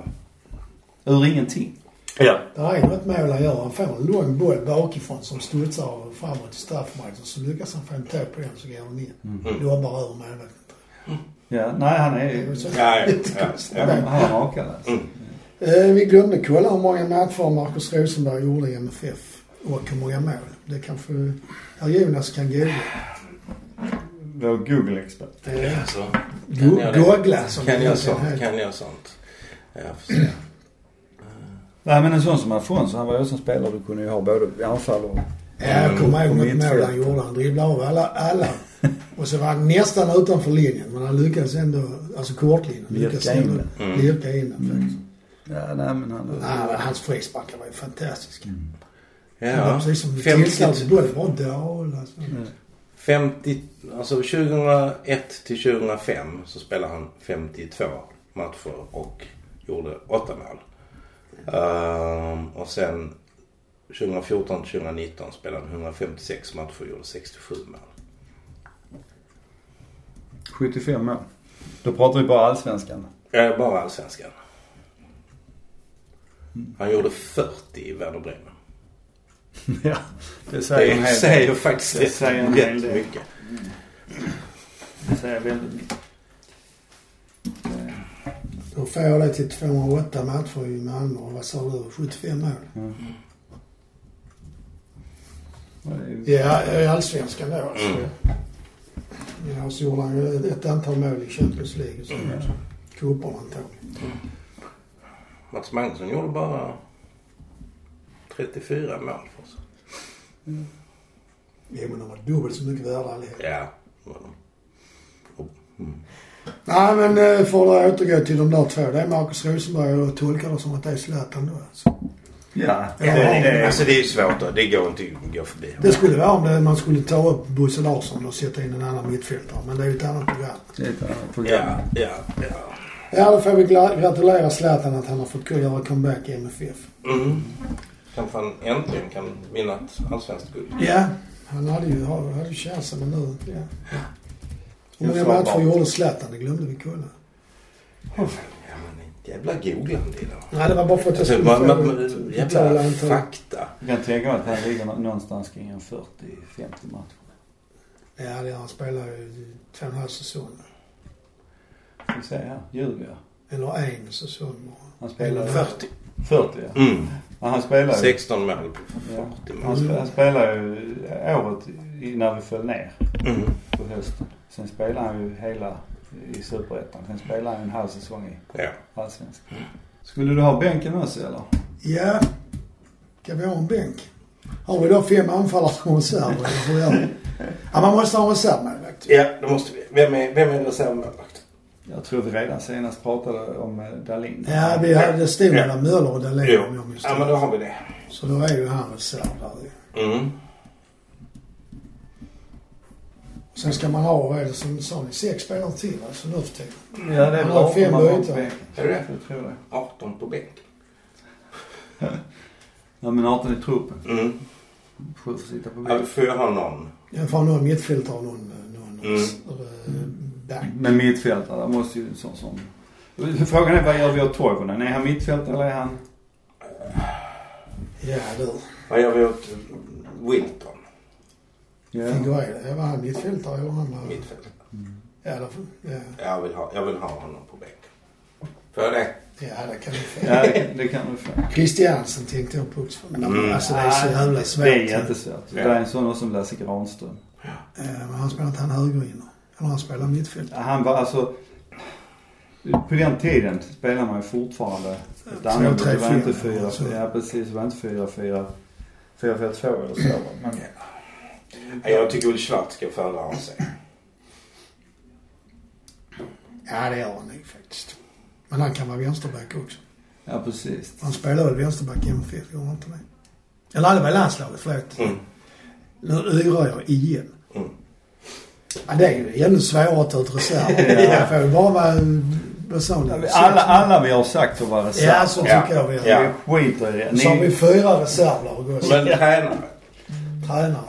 [SPEAKER 2] Ur ingenting.
[SPEAKER 3] Ja.
[SPEAKER 1] Det är något mål han gör. Han får en lång boll bakifrån som studsar framåt i straffmarken. Så lyckas han få en tå på den så går den in.
[SPEAKER 3] Mm.
[SPEAKER 1] Lobbar över målvakten.
[SPEAKER 2] Ja, nej,
[SPEAKER 1] <laughs>
[SPEAKER 2] han
[SPEAKER 1] Det är
[SPEAKER 2] är...
[SPEAKER 1] ju så
[SPEAKER 3] Ja, ja,
[SPEAKER 1] jättekonstigt.
[SPEAKER 2] Han han är rakad alltså.
[SPEAKER 3] Mm.
[SPEAKER 1] Eh, Vi glömde kolla hur många matcher Markus Rosenberg gjorde i MFF och hur många mål. Det kanske herr Jonas kan googla.
[SPEAKER 2] Vår Google-expert.
[SPEAKER 1] Eh,
[SPEAKER 3] Alltså,
[SPEAKER 1] Go-
[SPEAKER 3] jag det?
[SPEAKER 1] Googla som
[SPEAKER 3] Kan
[SPEAKER 1] det
[SPEAKER 3] jag
[SPEAKER 1] heter.
[SPEAKER 3] sånt? Kan jag sånt? Ja, jag
[SPEAKER 2] <clears throat>
[SPEAKER 3] får se.
[SPEAKER 2] Nej, men en sån som Alfonso, han var ju som spelare. Du kunde ju ha både anfall och...
[SPEAKER 1] Ja, jag kommer ihåg
[SPEAKER 2] Mm,
[SPEAKER 1] något mål han
[SPEAKER 2] mittfält.
[SPEAKER 1] gjorde. Han dribblade av alla,
[SPEAKER 3] <laughs>
[SPEAKER 1] alla. Och så var han nästan utanför linjen. Men han lyckades ändå, alltså kortlinjen,
[SPEAKER 2] Lirka
[SPEAKER 1] lyckades
[SPEAKER 2] in
[SPEAKER 1] ändå Mm.
[SPEAKER 3] den. Mm.
[SPEAKER 1] lirka in den faktiskt.
[SPEAKER 2] Ja, nej, men han...
[SPEAKER 1] Nej, men hans frisparkar var ju fantastiska. Det var
[SPEAKER 3] Ja, Mm.
[SPEAKER 1] precis som
[SPEAKER 3] 50,
[SPEAKER 1] tillslaget. Både var alltså. dåliga. så.
[SPEAKER 3] 50, alltså 2001 till 2005 så spelade han 52 matcher och gjorde 8 mål. Ehm, och sen 2014 till 2019 spelade han 156 matcher och gjorde 67 mål.
[SPEAKER 2] 75 mål. Då pratar vi bara allsvenskan.
[SPEAKER 3] Ja, bara allsvenskan. Han gjorde 40 i Werder Bremen.
[SPEAKER 2] ja, det säger en
[SPEAKER 3] Det
[SPEAKER 2] hel
[SPEAKER 3] säger faktiskt
[SPEAKER 2] Det
[SPEAKER 3] rätt,
[SPEAKER 2] säger en hel
[SPEAKER 3] rätt
[SPEAKER 2] del.
[SPEAKER 3] mycket.
[SPEAKER 2] Det säger väldigt mycket.
[SPEAKER 1] Då får jag det till 208 matcher i Malmö och vad sa du? 75 mål?
[SPEAKER 2] Ja, det är ju-
[SPEAKER 1] Ja, i Allsvenskan då alltså. Ja, så gjorde han ju ett antal mål i Champions League och så. Cuperna antagligen.
[SPEAKER 3] Mats Magnusson gjorde bara 34 mål för oss.
[SPEAKER 1] Jo, men de var dubbelt så mycket värda allihop.
[SPEAKER 3] Ja, det var det.
[SPEAKER 1] Nej, men eh, för att återgå till de där två. Det är Markus Rosenberg och jag tolkar det som att det är Zlatan då alltså.
[SPEAKER 2] Ja, det,
[SPEAKER 1] Ja,
[SPEAKER 2] det,
[SPEAKER 3] Det,
[SPEAKER 2] det,
[SPEAKER 3] alltså det är ju svårt då. Det går inte att gå förbi.
[SPEAKER 1] Det skulle vara om det, man skulle ta upp Bosse Larsson och sätta in en annan mittfältare. Men det är ju ett annat program.
[SPEAKER 2] det är ett annat program.
[SPEAKER 3] Ja, ja, ja.
[SPEAKER 1] Ja, då får vi gla- gratulera Zlatan att han har fått göra comeback i MFF.
[SPEAKER 3] Mm. Kanske han äntligen kan vinna ett allsvenskt guld.
[SPEAKER 1] Ja, han hade ju, han hade ju chansen men nu... Ja. Hur många
[SPEAKER 2] Jag sa
[SPEAKER 1] matcher
[SPEAKER 2] bara-
[SPEAKER 1] gjorde Zlatan? Det glömde vi kolla.
[SPEAKER 3] Ja, men inte jävla googlande idag.
[SPEAKER 1] Nej, det var bara för att jag
[SPEAKER 3] Alltså,
[SPEAKER 1] skulle
[SPEAKER 3] man, man,
[SPEAKER 1] få ett totala
[SPEAKER 3] jävla
[SPEAKER 1] antal.
[SPEAKER 3] fakta.
[SPEAKER 2] Jag kan tänka mig att han ligger nå- någonstans kring en 40-50 matcher.
[SPEAKER 1] Ja, det- han spelar ju två och en halv säsong.
[SPEAKER 2] Ska vi se här. Ljuger jag?
[SPEAKER 1] Eller en säsong.
[SPEAKER 2] Han spelar...
[SPEAKER 1] 40.
[SPEAKER 2] 40 ja.
[SPEAKER 3] Mm.
[SPEAKER 2] ja han spelar ju...
[SPEAKER 3] 16 mål på 40
[SPEAKER 2] Han
[SPEAKER 3] mål.
[SPEAKER 2] spelar, han spelar ju året innan vi föll ner
[SPEAKER 3] Mm.
[SPEAKER 2] på hösten. Sen spelar han ju hela i Superettan. Sen spelar han en halv säsong i
[SPEAKER 3] Ja.
[SPEAKER 2] Allsvenskan. Mm. Skulle du ha bänken med sig eller?
[SPEAKER 1] Ja, kan vi ha en bänk? Har vi då fem anfallare som reserv? eller hur gör vi? Ja, man måste ha en reservmålvakt.
[SPEAKER 3] ja, det måste vi. Vem är, vem är reservmålvakt?
[SPEAKER 2] Jag tror vi redan senast pratade om eh, Dahlin.
[SPEAKER 1] Ja, vi hade stod mellan Möller och Dahlin om jag
[SPEAKER 3] Jo.
[SPEAKER 1] minns
[SPEAKER 3] Ja, men då
[SPEAKER 1] rätt.
[SPEAKER 3] har vi det.
[SPEAKER 1] Så då är ju han reserv där ju.
[SPEAKER 3] Mm.
[SPEAKER 1] Sen ska man ha, vad är det som sa ni, sex spelare till alltså nu för tiden.
[SPEAKER 2] Ja, det är
[SPEAKER 1] Han
[SPEAKER 2] bra
[SPEAKER 1] har
[SPEAKER 2] om
[SPEAKER 1] fem
[SPEAKER 2] man har
[SPEAKER 1] byten.
[SPEAKER 2] bänken.
[SPEAKER 3] Är det?
[SPEAKER 2] Jag tror det.
[SPEAKER 3] 18 på bänk.
[SPEAKER 2] Ja, men 18 i truppen.
[SPEAKER 3] Mm.
[SPEAKER 2] Sju får sitta på
[SPEAKER 3] Ja, vi
[SPEAKER 2] bänken.
[SPEAKER 3] får ju ha någon.
[SPEAKER 1] Jag får ha någon mittfältare och någon, någon
[SPEAKER 3] Mm.
[SPEAKER 1] eh, back.
[SPEAKER 2] Men mittfältare, där måste ju en sån som... Frågan är vad gör vi åt Toivonen? Är han mittfältare eller är han...
[SPEAKER 1] Ja du,
[SPEAKER 3] Vad gör vi åt Wilton?
[SPEAKER 2] Ja.
[SPEAKER 1] Figueiredo. Ja, var han mittfältare eller han var...
[SPEAKER 3] Mittfältare.
[SPEAKER 1] Ja, det, ja,
[SPEAKER 3] Jag vill ha, jag vill ha honom på bänk. Får jag det?
[SPEAKER 1] ja, det kan vi få.
[SPEAKER 2] Ja, det, det kan du få.
[SPEAKER 1] Christiansen tänkte jag på också. Men
[SPEAKER 3] Mm.
[SPEAKER 1] alltså det är så jävla svårt.
[SPEAKER 2] Det är jättesvårt.
[SPEAKER 3] Ja.
[SPEAKER 2] Det är en sån som Lasse Granström.
[SPEAKER 1] Eh, Men han spelar inte han högerinner. Eller han spelar mittfält.
[SPEAKER 2] Han var alltså... På den tiden spelade man ju fortfarande ett
[SPEAKER 1] Två,
[SPEAKER 2] annat.
[SPEAKER 1] tre,
[SPEAKER 2] Det var inte
[SPEAKER 1] fyra.
[SPEAKER 2] fyra,
[SPEAKER 1] Så.
[SPEAKER 2] ja precis. Det var inte fyra, fyra, fyra, fyra, två eller så. Men,
[SPEAKER 3] Ja, Jag tycker väl Schwarz ska föra av sig.
[SPEAKER 1] Ja, det gör han nog faktiskt. Men han kan vara vänsterback också.
[SPEAKER 2] Ja, precis.
[SPEAKER 1] Han spelade väl vänsterback i MFF, gjorde han inte det? Eller han var i landslaget, förlåt.
[SPEAKER 3] Mm.
[SPEAKER 1] Nu yrar jag igen.
[SPEAKER 3] Mm.
[SPEAKER 1] Ja, det är ju ännu svårare att ta ut reserv.
[SPEAKER 2] Ja.
[SPEAKER 1] Jag får ju bara vara personlig.
[SPEAKER 2] Alla, alla vi har sagt att vara reserv.
[SPEAKER 1] Ja, så tycker
[SPEAKER 3] Ja.
[SPEAKER 1] jag vi gör.
[SPEAKER 3] Ja.
[SPEAKER 2] Vi skiter i det.
[SPEAKER 1] Så har vi
[SPEAKER 2] Ni,
[SPEAKER 1] fyra reservlag och så
[SPEAKER 3] Men tränare.
[SPEAKER 1] tränare.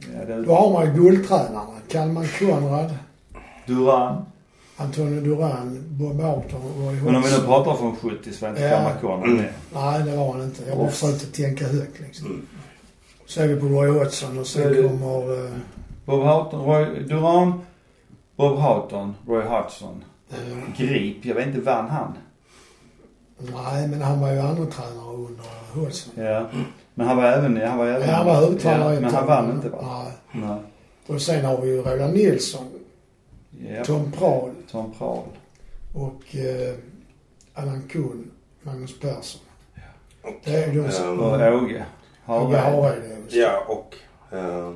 [SPEAKER 2] ja,
[SPEAKER 1] Då
[SPEAKER 2] det,
[SPEAKER 1] har man ju guldtränarna. Kalman Konrad,
[SPEAKER 2] Duran.
[SPEAKER 1] Antonio Duran, Bob Orton och Roy
[SPEAKER 2] Men om vi nu
[SPEAKER 1] Hodgson.
[SPEAKER 2] pratar från 70 så var inte
[SPEAKER 1] Ja.
[SPEAKER 2] Kalmar Conrad med.
[SPEAKER 1] Nej, det var han inte. Jag bara
[SPEAKER 2] Off.
[SPEAKER 1] försökte tänka högt liksom.
[SPEAKER 3] Mm.
[SPEAKER 1] Så är vi på Roy Hodgson och sen
[SPEAKER 2] Ja, det-
[SPEAKER 1] kommer... eh,
[SPEAKER 2] Bob Houghton, Roy Duran, Bob Houghton, Roy Hodgson.
[SPEAKER 1] eh,
[SPEAKER 2] Grip, jag vet inte, vann han?
[SPEAKER 1] Nej, men han var ju andra tränare under Hodgson.
[SPEAKER 2] Ja. Men han var även, han var även...
[SPEAKER 1] Ja, han var huvudtränare
[SPEAKER 2] ja,
[SPEAKER 1] ett
[SPEAKER 2] Men han
[SPEAKER 1] tag.
[SPEAKER 2] vann inte va?
[SPEAKER 1] Nej.
[SPEAKER 2] Nej.
[SPEAKER 1] Och sen har vi ju Roland Nilsson,
[SPEAKER 2] Ja.
[SPEAKER 1] Tom Prahl
[SPEAKER 2] Tom Prahl.
[SPEAKER 1] och eh, Allan Kuhn, Magnus Persson. Det är ju de som...
[SPEAKER 3] Ehm,
[SPEAKER 2] Och Åge.
[SPEAKER 1] Åge
[SPEAKER 2] Hareide.
[SPEAKER 1] Hareide också,
[SPEAKER 3] Ja, och... eh,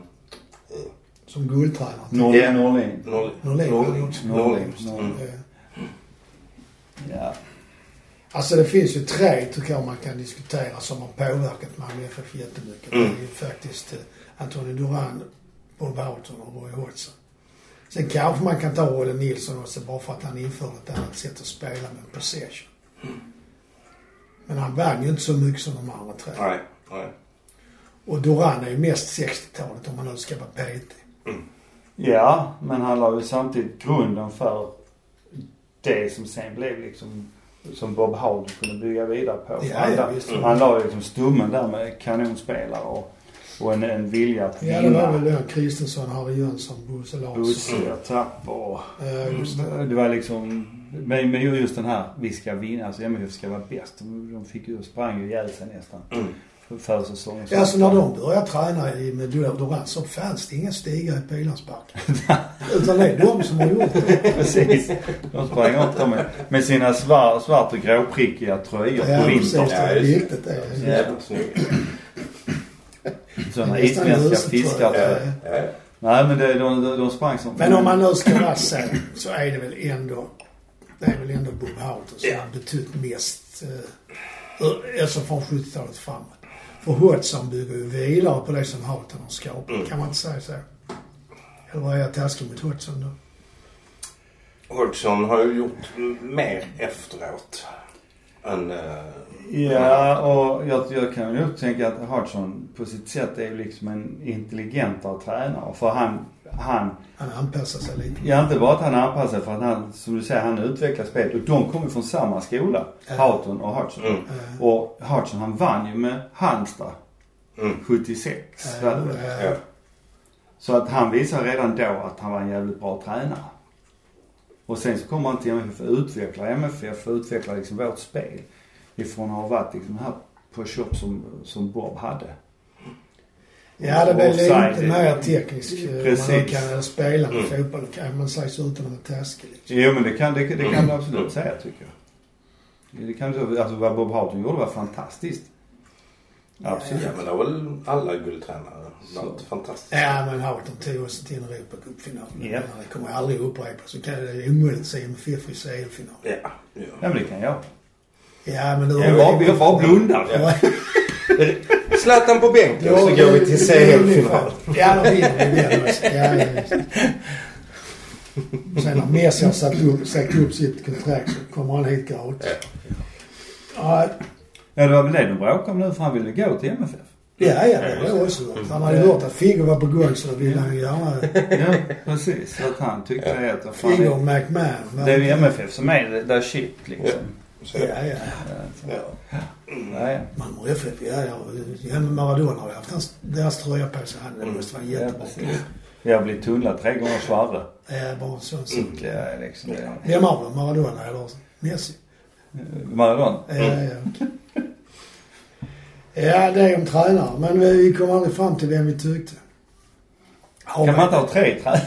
[SPEAKER 1] som guldtränare.
[SPEAKER 2] Norling. Norling.
[SPEAKER 3] Norling.
[SPEAKER 1] Norlin.
[SPEAKER 3] Norling.
[SPEAKER 2] Norling.
[SPEAKER 3] Mm.
[SPEAKER 1] Eh,
[SPEAKER 2] Ja.
[SPEAKER 1] Alltså det finns ju tre tycker jag man kan diskutera som har påverkat Malmö FF jättemycket.
[SPEAKER 3] Mm.
[SPEAKER 1] Det är ju faktiskt eh, Antonio Duran, Bob Houghton och Roy Hodgson. Sen kanske man kan ta Rolle Nilsson också bara för att han införde ett annat sätt att spela med possession. Men han vann ju inte så mycket som de andra tre.
[SPEAKER 3] Nej, nej.
[SPEAKER 1] Och Duran är ju mest 60-talet om man nu ska vara petig.
[SPEAKER 2] ja, men han la ju samtidigt grunden för det som sen blev liksom som Bob Howard kunde bygga vidare på.
[SPEAKER 1] Ja,
[SPEAKER 2] han,
[SPEAKER 1] ja, visst.
[SPEAKER 2] han la ju liksom stummen där med kanonspelare och, och en, en vilja att
[SPEAKER 1] Ja, det var
[SPEAKER 2] vinna.
[SPEAKER 1] väl då Kristensson, Harry Jönsson, Bosse Larsson.
[SPEAKER 2] Bosse, Mm. Tapp och...
[SPEAKER 1] Eh, just det.
[SPEAKER 2] Det var liksom... Men, men ju just den här, vi ska vinna, alltså MFF ska vara bäst. De fick ju, sprang ju ihjäl sig nästan
[SPEAKER 3] Mm.
[SPEAKER 2] för- för säsongen.
[SPEAKER 1] Ja, så när de började träna i med Duran Duran så fanns det inga stigar i
[SPEAKER 3] <laughs>
[SPEAKER 1] Pilansparken. Utan det är de som har gjort det.
[SPEAKER 2] <laughs> Precis. De sprang upp dem med, med sina svart, svart och gråprickiga tröjor
[SPEAKER 1] Ja,
[SPEAKER 2] på
[SPEAKER 1] precis.
[SPEAKER 2] vintern.
[SPEAKER 1] Det är
[SPEAKER 3] Ja, just
[SPEAKER 1] viktigt det.
[SPEAKER 3] Jävligt snygg.
[SPEAKER 2] Sådana
[SPEAKER 1] Det är nästan
[SPEAKER 2] isländska
[SPEAKER 1] huset, tror jag.
[SPEAKER 2] fiskar.
[SPEAKER 3] Ja, ja.
[SPEAKER 2] Nej men det, de, de, de sprang som...
[SPEAKER 1] Men om man nu ska vara så, så är det väl ändå, det är väl ändå Bob Houghton som
[SPEAKER 3] Ja.
[SPEAKER 1] har betytt mest, eh, ur- alltså från 70-talet framåt. För Hodgson bygger ju vidare på det som Houghton har skapat.
[SPEAKER 3] Mm.
[SPEAKER 1] Kan man inte säga så? Eller är jag taskig mot Hodgson då?
[SPEAKER 3] Hodgson har ju gjort mer efteråt än... eh,
[SPEAKER 2] Ja och jag, jag kan ju tänka att Hartson på sitt sätt är ju liksom en intelligentare tränare. För han, han
[SPEAKER 1] Han anpassar sig lite.
[SPEAKER 2] Ja, inte bara att han anpassar sig för att han, som du säger, han utvecklar spelet. Och de kommer från samma skola.
[SPEAKER 1] Ja.
[SPEAKER 2] Houghton och Hodgson.
[SPEAKER 3] Mm.
[SPEAKER 1] Eh,
[SPEAKER 2] Och Hodgson han vann ju med Halmstad.
[SPEAKER 3] Mm.
[SPEAKER 2] 76 var det väl.
[SPEAKER 1] Eh,
[SPEAKER 3] Ja.
[SPEAKER 2] Så att han visar redan då att han var en jävligt bra tränare. Och sen så kommer han till MFF och utvecklar MFF och utvecklar liksom vårt spel. Ifrån att ha varit liksom här på shop som, som Bob hade.
[SPEAKER 1] Ja, det blir
[SPEAKER 2] Offside.
[SPEAKER 1] lite mer tekniskt.
[SPEAKER 2] Precis.
[SPEAKER 1] Man kan spela med
[SPEAKER 3] Mm.
[SPEAKER 1] fotboll, kan man säga, så utan att vara taskig. Liksom.
[SPEAKER 2] Jo men det kan, det, det kan du absolut säga tycker jag. Det kan du, alltså vad Bob Houghton gjorde var fantastiskt. Absolut.
[SPEAKER 3] Ja, men det har väl alla guldtränare varit
[SPEAKER 2] Så.
[SPEAKER 3] fantastiskt.
[SPEAKER 1] Ja, men Houghton tog oss till en Europacupfinal.
[SPEAKER 2] Ja.
[SPEAKER 1] Det kommer jag aldrig upprepa. Så kan det är omöjligt att säga med Fifi i CL-final.
[SPEAKER 3] Ja,
[SPEAKER 2] Ja
[SPEAKER 3] ja.
[SPEAKER 2] men det kan jag.
[SPEAKER 1] Ja, men då...
[SPEAKER 2] Jag bara, jag bara blundar.
[SPEAKER 1] Ja.
[SPEAKER 3] Zlatan på bänken
[SPEAKER 1] Ja,
[SPEAKER 3] <laughs> så går vi till CL-final.
[SPEAKER 1] Ja, då vinner vi den. alltså. Ja, ja, visst. Sen när Messi har sagt upp, sagt upp sitt kontrakt så kommer han hit gratis. Ja,
[SPEAKER 2] Ja det var väl det de bråkade om nu för han ville gå till MFF.
[SPEAKER 1] ja, ja, det var också
[SPEAKER 2] Mm.
[SPEAKER 1] hört. Han hade hört att Figge var på gång så då ville han ju
[SPEAKER 2] <laughs>
[SPEAKER 1] gärna...
[SPEAKER 2] Ja precis. Så att han tyckte det att vad fan,
[SPEAKER 1] Figge och
[SPEAKER 2] det,
[SPEAKER 1] McMahon. men-
[SPEAKER 2] det är ju MFF som är det där shit liksom.
[SPEAKER 3] Så,
[SPEAKER 1] Ja, ja.
[SPEAKER 3] ja.
[SPEAKER 2] Ja, ja.
[SPEAKER 1] Malmö FF, ja, ja. ja men Maradona har ju haft hans, deras tröja på sig. Han, det måste vara
[SPEAKER 2] Mm. ja
[SPEAKER 1] jättebra.
[SPEAKER 2] precis. Jag blev tunnlad tre gånger svarre.
[SPEAKER 1] Ja, bara en sån sak.
[SPEAKER 2] Det är liksom det.
[SPEAKER 1] Vem av dem? Maradona eller Messi?
[SPEAKER 2] Maradona.
[SPEAKER 1] Ja, ja. ja, det är om tränare. Men vi kom aldrig fram till vem vi tyckte. Har
[SPEAKER 2] Kan man inte ha tre tränare?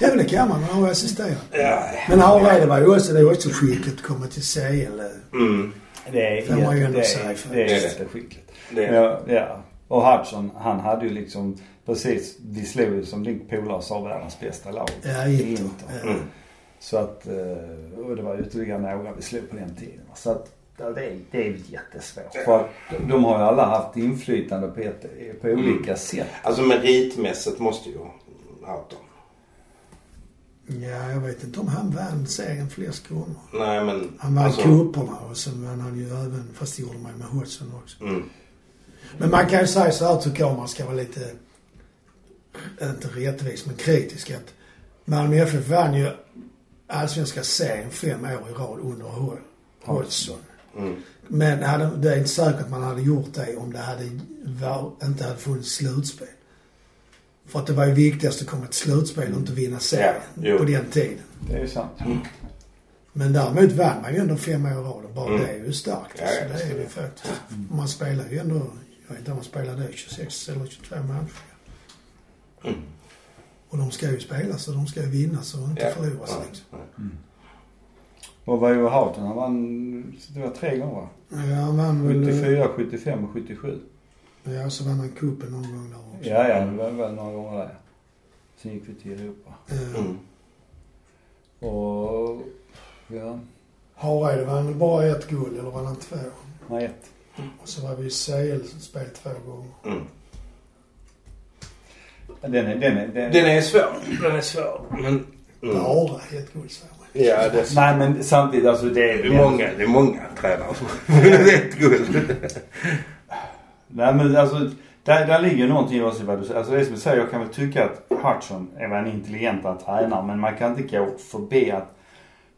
[SPEAKER 1] Ja, men det kan man. Man har ju assisterat.
[SPEAKER 3] Ja.
[SPEAKER 1] Men Harvey, det var ju också, det var också skickligt att komma till CL.
[SPEAKER 3] Mm,
[SPEAKER 2] Det är,
[SPEAKER 1] Får man ju
[SPEAKER 2] jätte-
[SPEAKER 1] ändå
[SPEAKER 2] det
[SPEAKER 1] säga
[SPEAKER 2] är,
[SPEAKER 1] faktiskt.
[SPEAKER 2] det är jätteskickligt.
[SPEAKER 3] det är
[SPEAKER 2] Ja, ja. Och Hudson, han hade ju liksom precis, vi slog ju som din polare sa världens bästa lag.
[SPEAKER 1] Ja, Eh, Inter.
[SPEAKER 2] Inter.
[SPEAKER 1] Ja.
[SPEAKER 3] Mm.
[SPEAKER 2] Så att, eh, och det var ytterligare några vi slog på den tiden. Så att ja, det, är- det är jättesvårt. För att de- de har ju alla haft inflytande på, ett, på olika sätt.
[SPEAKER 3] Alltså meritmässigt måste ju Houghton.
[SPEAKER 1] Ja, jag vet inte om han vann serien flest gånger.
[SPEAKER 3] Nej men...
[SPEAKER 1] Han vann
[SPEAKER 3] alltså,
[SPEAKER 1] cuperna och sen vann han ju även, fast det gjorde man ju med Hodgson också.
[SPEAKER 3] Mm.
[SPEAKER 1] Men man kan ju säga så här tycker jag man ska vara lite, inte rättvis men kritisk att Malmö FF vann ju allsvenska serien fem år i rad under Hol- Hodgson.
[SPEAKER 3] Mm.
[SPEAKER 1] Men hade, det är inte säkert att man hade gjort det om det hade var, inte hade funnits slutspel. För att det var ju viktigast att komma till slutspel och inte vinna serien
[SPEAKER 3] Ja, jo.
[SPEAKER 1] på den tiden.
[SPEAKER 2] Det är ju sant. Mm.
[SPEAKER 1] Men däremot vann man ju ändå fem år i rad och bara
[SPEAKER 3] Mm.
[SPEAKER 1] det är ju starkt.
[SPEAKER 3] Ja,
[SPEAKER 1] alltså,
[SPEAKER 3] ja,
[SPEAKER 1] det är det ju faktiskt. Man spelar ju ändå, jag vet inte om man spelar det 26 eller 22 matcher.
[SPEAKER 3] Mm.
[SPEAKER 1] Och de ska ju spelas och de ska ju vinnas och inte
[SPEAKER 3] Ja.
[SPEAKER 1] förloras
[SPEAKER 3] Ja.
[SPEAKER 1] liksom.
[SPEAKER 3] Ja.
[SPEAKER 2] Mm. Och vad gjorde Houghton? Han vann, det var tre gånger va?
[SPEAKER 1] Ja, han vann väl...
[SPEAKER 2] 74, 75 och 77.
[SPEAKER 1] Ja, så vann han cupen någon gång där också.
[SPEAKER 2] Ja, ja, det var väl några gånger där. Sen gick vi till Europa.
[SPEAKER 1] Eh,
[SPEAKER 3] Mm.
[SPEAKER 2] Och, ja,
[SPEAKER 1] Hareide vann bara ett guld, eller vann han två?
[SPEAKER 2] nej ett.
[SPEAKER 1] Och så var vi i CL-spel två gånger.
[SPEAKER 3] Mm.
[SPEAKER 2] Den är, den är, den är.
[SPEAKER 3] Den är svår. Den är svår. Men... Mm.
[SPEAKER 1] Bara ett guld, säger man.
[SPEAKER 3] Ja, det är svår.
[SPEAKER 2] Nej men samtidigt alltså det
[SPEAKER 3] Det
[SPEAKER 2] är
[SPEAKER 3] är många, det är många tränare som <laughs> ett guld.
[SPEAKER 2] Nej men alltså, där, där ligger någonting i vad du säger. Alltså det är som jag säger, jag kan väl tycka att Hudson är väl en intelligentare tränare. Men man kan inte gå förbi att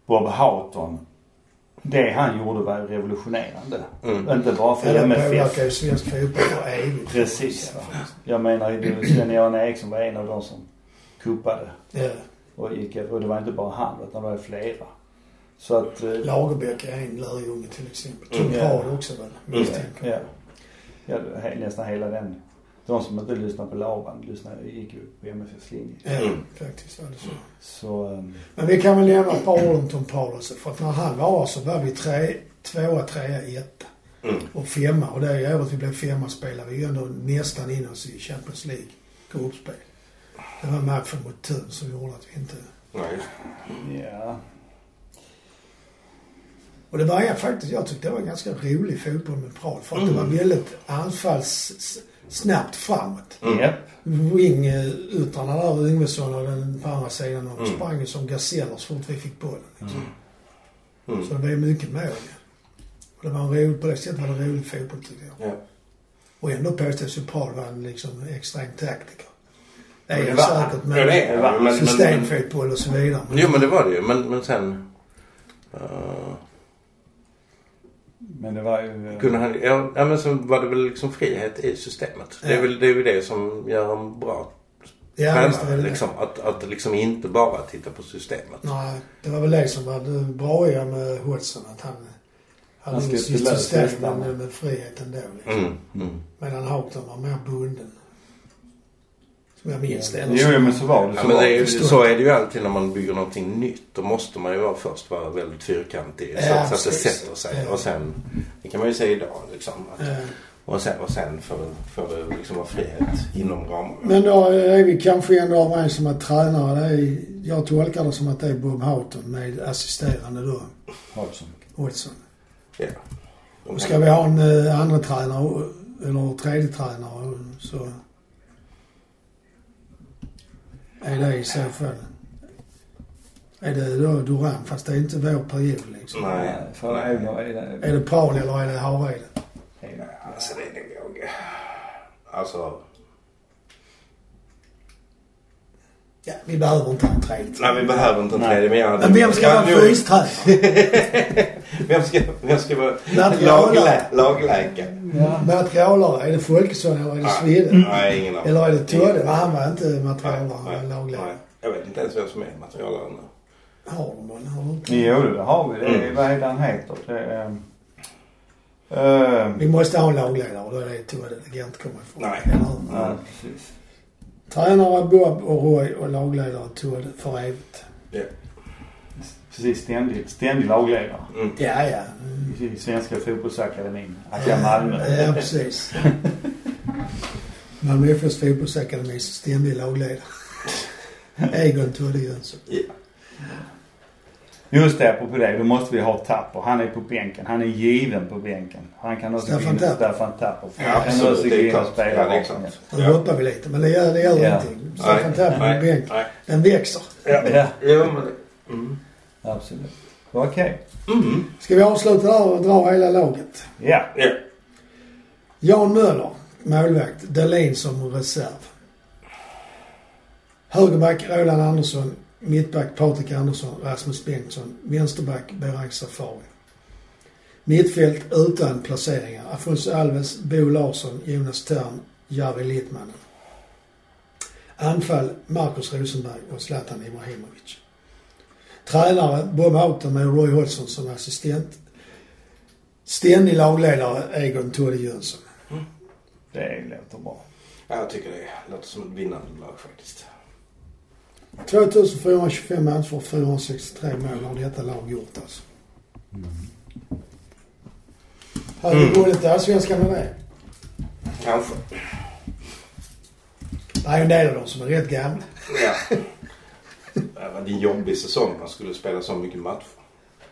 [SPEAKER 2] Bob Houghton, det han gjorde var revolutionerande.
[SPEAKER 3] Mm.
[SPEAKER 2] Inte bara för
[SPEAKER 1] Eller
[SPEAKER 2] MFF.
[SPEAKER 1] påverkar ju svensk fotboll för evigt.
[SPEAKER 2] Precis. Va? Jag menar, det- Sven-Göran Eriksson var en av de som kuppade.
[SPEAKER 1] Ja.
[SPEAKER 2] Och, gick, och det var inte bara han, utan det var flera. Så att... eh,
[SPEAKER 1] Lagerbäck är en lärjunge till exempel.
[SPEAKER 3] Mm.
[SPEAKER 1] Kim Raad också väl, misstänker
[SPEAKER 2] Ja. ja he, nästan hela den. De som inte lyssnade på Laban lyssnade, gick ju på MFFs linje.
[SPEAKER 1] jag. Ja,
[SPEAKER 3] Mm.
[SPEAKER 1] faktiskt var det så.
[SPEAKER 2] Så... ehm,
[SPEAKER 1] Men vi kan väl nämna ett par ord om Tom Paulus. För att när han var så var vi tre, tvåa, trea, etta
[SPEAKER 3] Mm.
[SPEAKER 1] och femma. Och det året vi blev femma spelade vi ju ändå nästan in oss i Champions League gruppspel. Det var matchen mot Thun som gjorde att vi inte...
[SPEAKER 3] Nej.
[SPEAKER 2] Ja.
[SPEAKER 1] Och det var jag faktiskt, jag tyckte det var ganska rolig fotboll med Prag. För att det var
[SPEAKER 3] Mm.
[SPEAKER 1] väldigt anfalls... Snabbt framåt.
[SPEAKER 3] Mm.
[SPEAKER 2] Japp.
[SPEAKER 1] Wing-yttrarna där, Yngvesson och den på andra sidan, de sprang ju som gazeller så fort vi fick bollen. Liksom.
[SPEAKER 3] Mm.
[SPEAKER 1] Så det blev mycket mål. Och det var en rolig, på det sättet var det rolig fotboll tycker jag.
[SPEAKER 3] Ja.
[SPEAKER 1] Och ändå påstås ju Paul vara en liksom extrem taktiker. Det är
[SPEAKER 3] Det
[SPEAKER 1] ju
[SPEAKER 3] var-
[SPEAKER 1] säkert
[SPEAKER 3] Ja, det
[SPEAKER 1] med
[SPEAKER 3] är han, men- men-
[SPEAKER 1] systemfotboll och så vidare. Men
[SPEAKER 3] Jo men det var det ju. Men, men sen... eh,
[SPEAKER 2] Men det var ju... eh,
[SPEAKER 3] kunde han, ja, ja men så var det väl liksom frihet i systemet. Det, är
[SPEAKER 1] Ja.
[SPEAKER 3] väl, det är ju det som gör en bra
[SPEAKER 1] ja, visst, det är
[SPEAKER 3] tränare.
[SPEAKER 1] väl det.
[SPEAKER 3] Liksom, att, att liksom inte bara titta på systemet.
[SPEAKER 1] Nej, det var väl det som var det braiga med Hodgson. Att han
[SPEAKER 2] Han
[SPEAKER 1] hade inget
[SPEAKER 2] skulle inte lösa
[SPEAKER 1] system
[SPEAKER 2] listan.
[SPEAKER 1] men med frihet ändå. Liksom.
[SPEAKER 3] Mm. Mm.
[SPEAKER 1] Medan Houghton var mer bunden. Som jag minns det. eller
[SPEAKER 2] Jo,
[SPEAKER 1] så.
[SPEAKER 2] jo, men så var det. Så
[SPEAKER 3] Ja, men
[SPEAKER 2] var
[SPEAKER 3] det är, ju-
[SPEAKER 1] förstår.
[SPEAKER 3] så är det ju alltid när man bygger någonting nytt. Då måste man ju vara först vara väldigt fyrkantig så,
[SPEAKER 1] Ja,
[SPEAKER 3] så att det
[SPEAKER 1] precis.
[SPEAKER 3] sätter sig.
[SPEAKER 1] Ja.
[SPEAKER 3] Och sen, det kan man ju säga idag liksom. Att,
[SPEAKER 1] Eh,
[SPEAKER 3] och sen, och sen får, får det liksom vara frihet inom ramarna.
[SPEAKER 1] Men då är vi kanske ändå överens som att tränare, det är, jag tolkar det som att det är Bob Houghton med assisterande då,
[SPEAKER 2] Hodgson.
[SPEAKER 1] Hodgson.
[SPEAKER 3] Ja.
[SPEAKER 1] Och ska vi ha en eh, andra tränare eller tredje tränare så är det i så fall. Är det då Duran? Fast det är inte vår period liksom.
[SPEAKER 3] Nej.
[SPEAKER 2] Eh, För
[SPEAKER 3] Nej.
[SPEAKER 2] Einar är det...
[SPEAKER 1] Är det Paul eller är det Hareide?
[SPEAKER 2] Einar.
[SPEAKER 3] Alltså det är nog... Alltså...
[SPEAKER 1] Ja, vi behöver inte ha en tredje
[SPEAKER 3] Nej,
[SPEAKER 1] tränare.
[SPEAKER 3] vi behöver inte en tredje. Men, jag hade-
[SPEAKER 1] Men vem ska
[SPEAKER 3] jag
[SPEAKER 1] vara
[SPEAKER 3] hade nog-
[SPEAKER 1] fystränare?
[SPEAKER 3] Vem ska, vem ska vara
[SPEAKER 1] Lateral.
[SPEAKER 3] laglä- lagläkare?
[SPEAKER 1] <laughs> Mm, Materialare? Är det Folkesson eller är det Svedde?
[SPEAKER 3] Nej, ingen aning.
[SPEAKER 1] Eller är det Todde? Nej, han var inte
[SPEAKER 3] Nej,
[SPEAKER 1] materialare, han
[SPEAKER 3] Mm. nej,
[SPEAKER 1] var
[SPEAKER 3] nej.
[SPEAKER 1] lagledare.
[SPEAKER 3] Jag vet inte ens vem som är materialare nu.
[SPEAKER 1] Har de någon? Har de inte?
[SPEAKER 2] Jo, det har vi. Det är,
[SPEAKER 3] Mm.
[SPEAKER 2] Vad är det han heter? Det är... ehm, eh,
[SPEAKER 1] Vi måste ha en lagledare, då är det Todde. Det kan jag inte komma ifrån.
[SPEAKER 3] Nej.
[SPEAKER 1] Eller hur?
[SPEAKER 2] ja, precis.
[SPEAKER 1] Tränare Bob och Roy och lagledare Todde för evigt.
[SPEAKER 3] Ja.
[SPEAKER 2] Precis, ständig, ständig lagledare.
[SPEAKER 3] Mm.
[SPEAKER 1] Ja, ja. Mm.
[SPEAKER 2] I Svenska fotbollsakademin. Att jag är Malmö.
[SPEAKER 1] Ja, precis. Malmö FFs
[SPEAKER 2] <laughs>
[SPEAKER 1] fotbollsakademis ständig lagledare. Egon Todde Jönsson.
[SPEAKER 3] Ja.
[SPEAKER 2] Just det, apropå det. Då måste vi ha Tapper. Han är på bänken. Han är given på bänken. Han kan också
[SPEAKER 1] Staffan
[SPEAKER 2] gå in-
[SPEAKER 1] Tapper.
[SPEAKER 2] Staffan Tapper.
[SPEAKER 3] Ja,
[SPEAKER 2] Han kan
[SPEAKER 3] absolut.
[SPEAKER 2] också
[SPEAKER 3] Det är
[SPEAKER 2] gå in och
[SPEAKER 3] klart.
[SPEAKER 2] spela
[SPEAKER 3] Ja, det är
[SPEAKER 2] bakom.
[SPEAKER 3] klart.
[SPEAKER 1] Nu
[SPEAKER 3] Ja.
[SPEAKER 1] hoppar vi lite, men det gör, det gör
[SPEAKER 2] Ja.
[SPEAKER 1] ingenting. Staffan Tapper på bänken.
[SPEAKER 3] nej.
[SPEAKER 1] Den växer.
[SPEAKER 2] Ja,
[SPEAKER 3] Jo, men det... Mm.
[SPEAKER 2] absolut. Okej.
[SPEAKER 3] Mm.
[SPEAKER 1] Ska vi avsluta där och dra hela laget?
[SPEAKER 2] Ja.
[SPEAKER 3] Ja.
[SPEAKER 1] Jan Möller, målvakt. Dahlin som reserv. Högerback Roland Andersson. Mittback Patrik Andersson, Rasmus Bengtsson. Vänsterback Behrang Safari. Mittfält utan placeringar. Afonso Alves, Bo Larsson, Jonas Tern, Jari Littmannen. Anfall Marcus Rosenberg och Zlatan Ibrahimovic. Tränare Bob Houghton med Roy Hodgson som assistent. Ständig lagledare Egon Tolle Jönsson.
[SPEAKER 2] Det låter bra.
[SPEAKER 3] Ja, Jag tycker det låter som ett vinnande lag faktiskt.
[SPEAKER 1] 2425 matcher, 463 mål har detta lag gjort alltså. Har
[SPEAKER 3] Mm.
[SPEAKER 1] vi vunnit allsvenskan med det?
[SPEAKER 3] Kanske.
[SPEAKER 1] Det är en del av dem som är rätt gamla. <laughs>
[SPEAKER 3] Ja. Det var en jobbig säsong. Man skulle spela så mycket matcher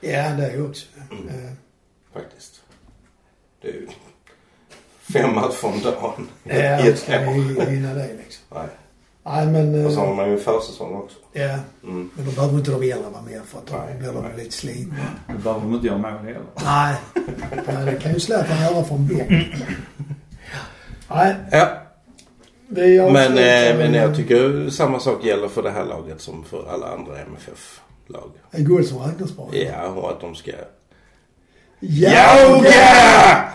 [SPEAKER 1] Ja, det är också. Eh,
[SPEAKER 3] Mm. faktiskt. Det är ju fem matcher om dagen
[SPEAKER 1] Ja,
[SPEAKER 3] i
[SPEAKER 1] hur
[SPEAKER 3] ett
[SPEAKER 1] ska
[SPEAKER 3] år.
[SPEAKER 1] vi hinna det liksom?
[SPEAKER 3] Nej.
[SPEAKER 1] Nej, men... eh,
[SPEAKER 3] Och så har man ju försäsong också.
[SPEAKER 1] Ja,
[SPEAKER 3] Mm.
[SPEAKER 1] men då behöver inte de äldre vara med för att då
[SPEAKER 3] Nej,
[SPEAKER 1] blir de
[SPEAKER 3] nej.
[SPEAKER 1] lite slitna.
[SPEAKER 2] Då behöver de inte göra mål heller.
[SPEAKER 1] Nej, Nej, det kan ju Zlatan göra från
[SPEAKER 3] <laughs>
[SPEAKER 1] bänk. Nej,
[SPEAKER 3] Ja,
[SPEAKER 1] vi har
[SPEAKER 3] men, eh,
[SPEAKER 1] avslutat
[SPEAKER 3] men
[SPEAKER 1] med
[SPEAKER 3] jag tycker samma sak gäller för det här laget som för alla andra MFF-lag.
[SPEAKER 1] En guld som räknas bara.
[SPEAKER 3] Ja, och att de ska...
[SPEAKER 1] Ja,
[SPEAKER 3] Yoga!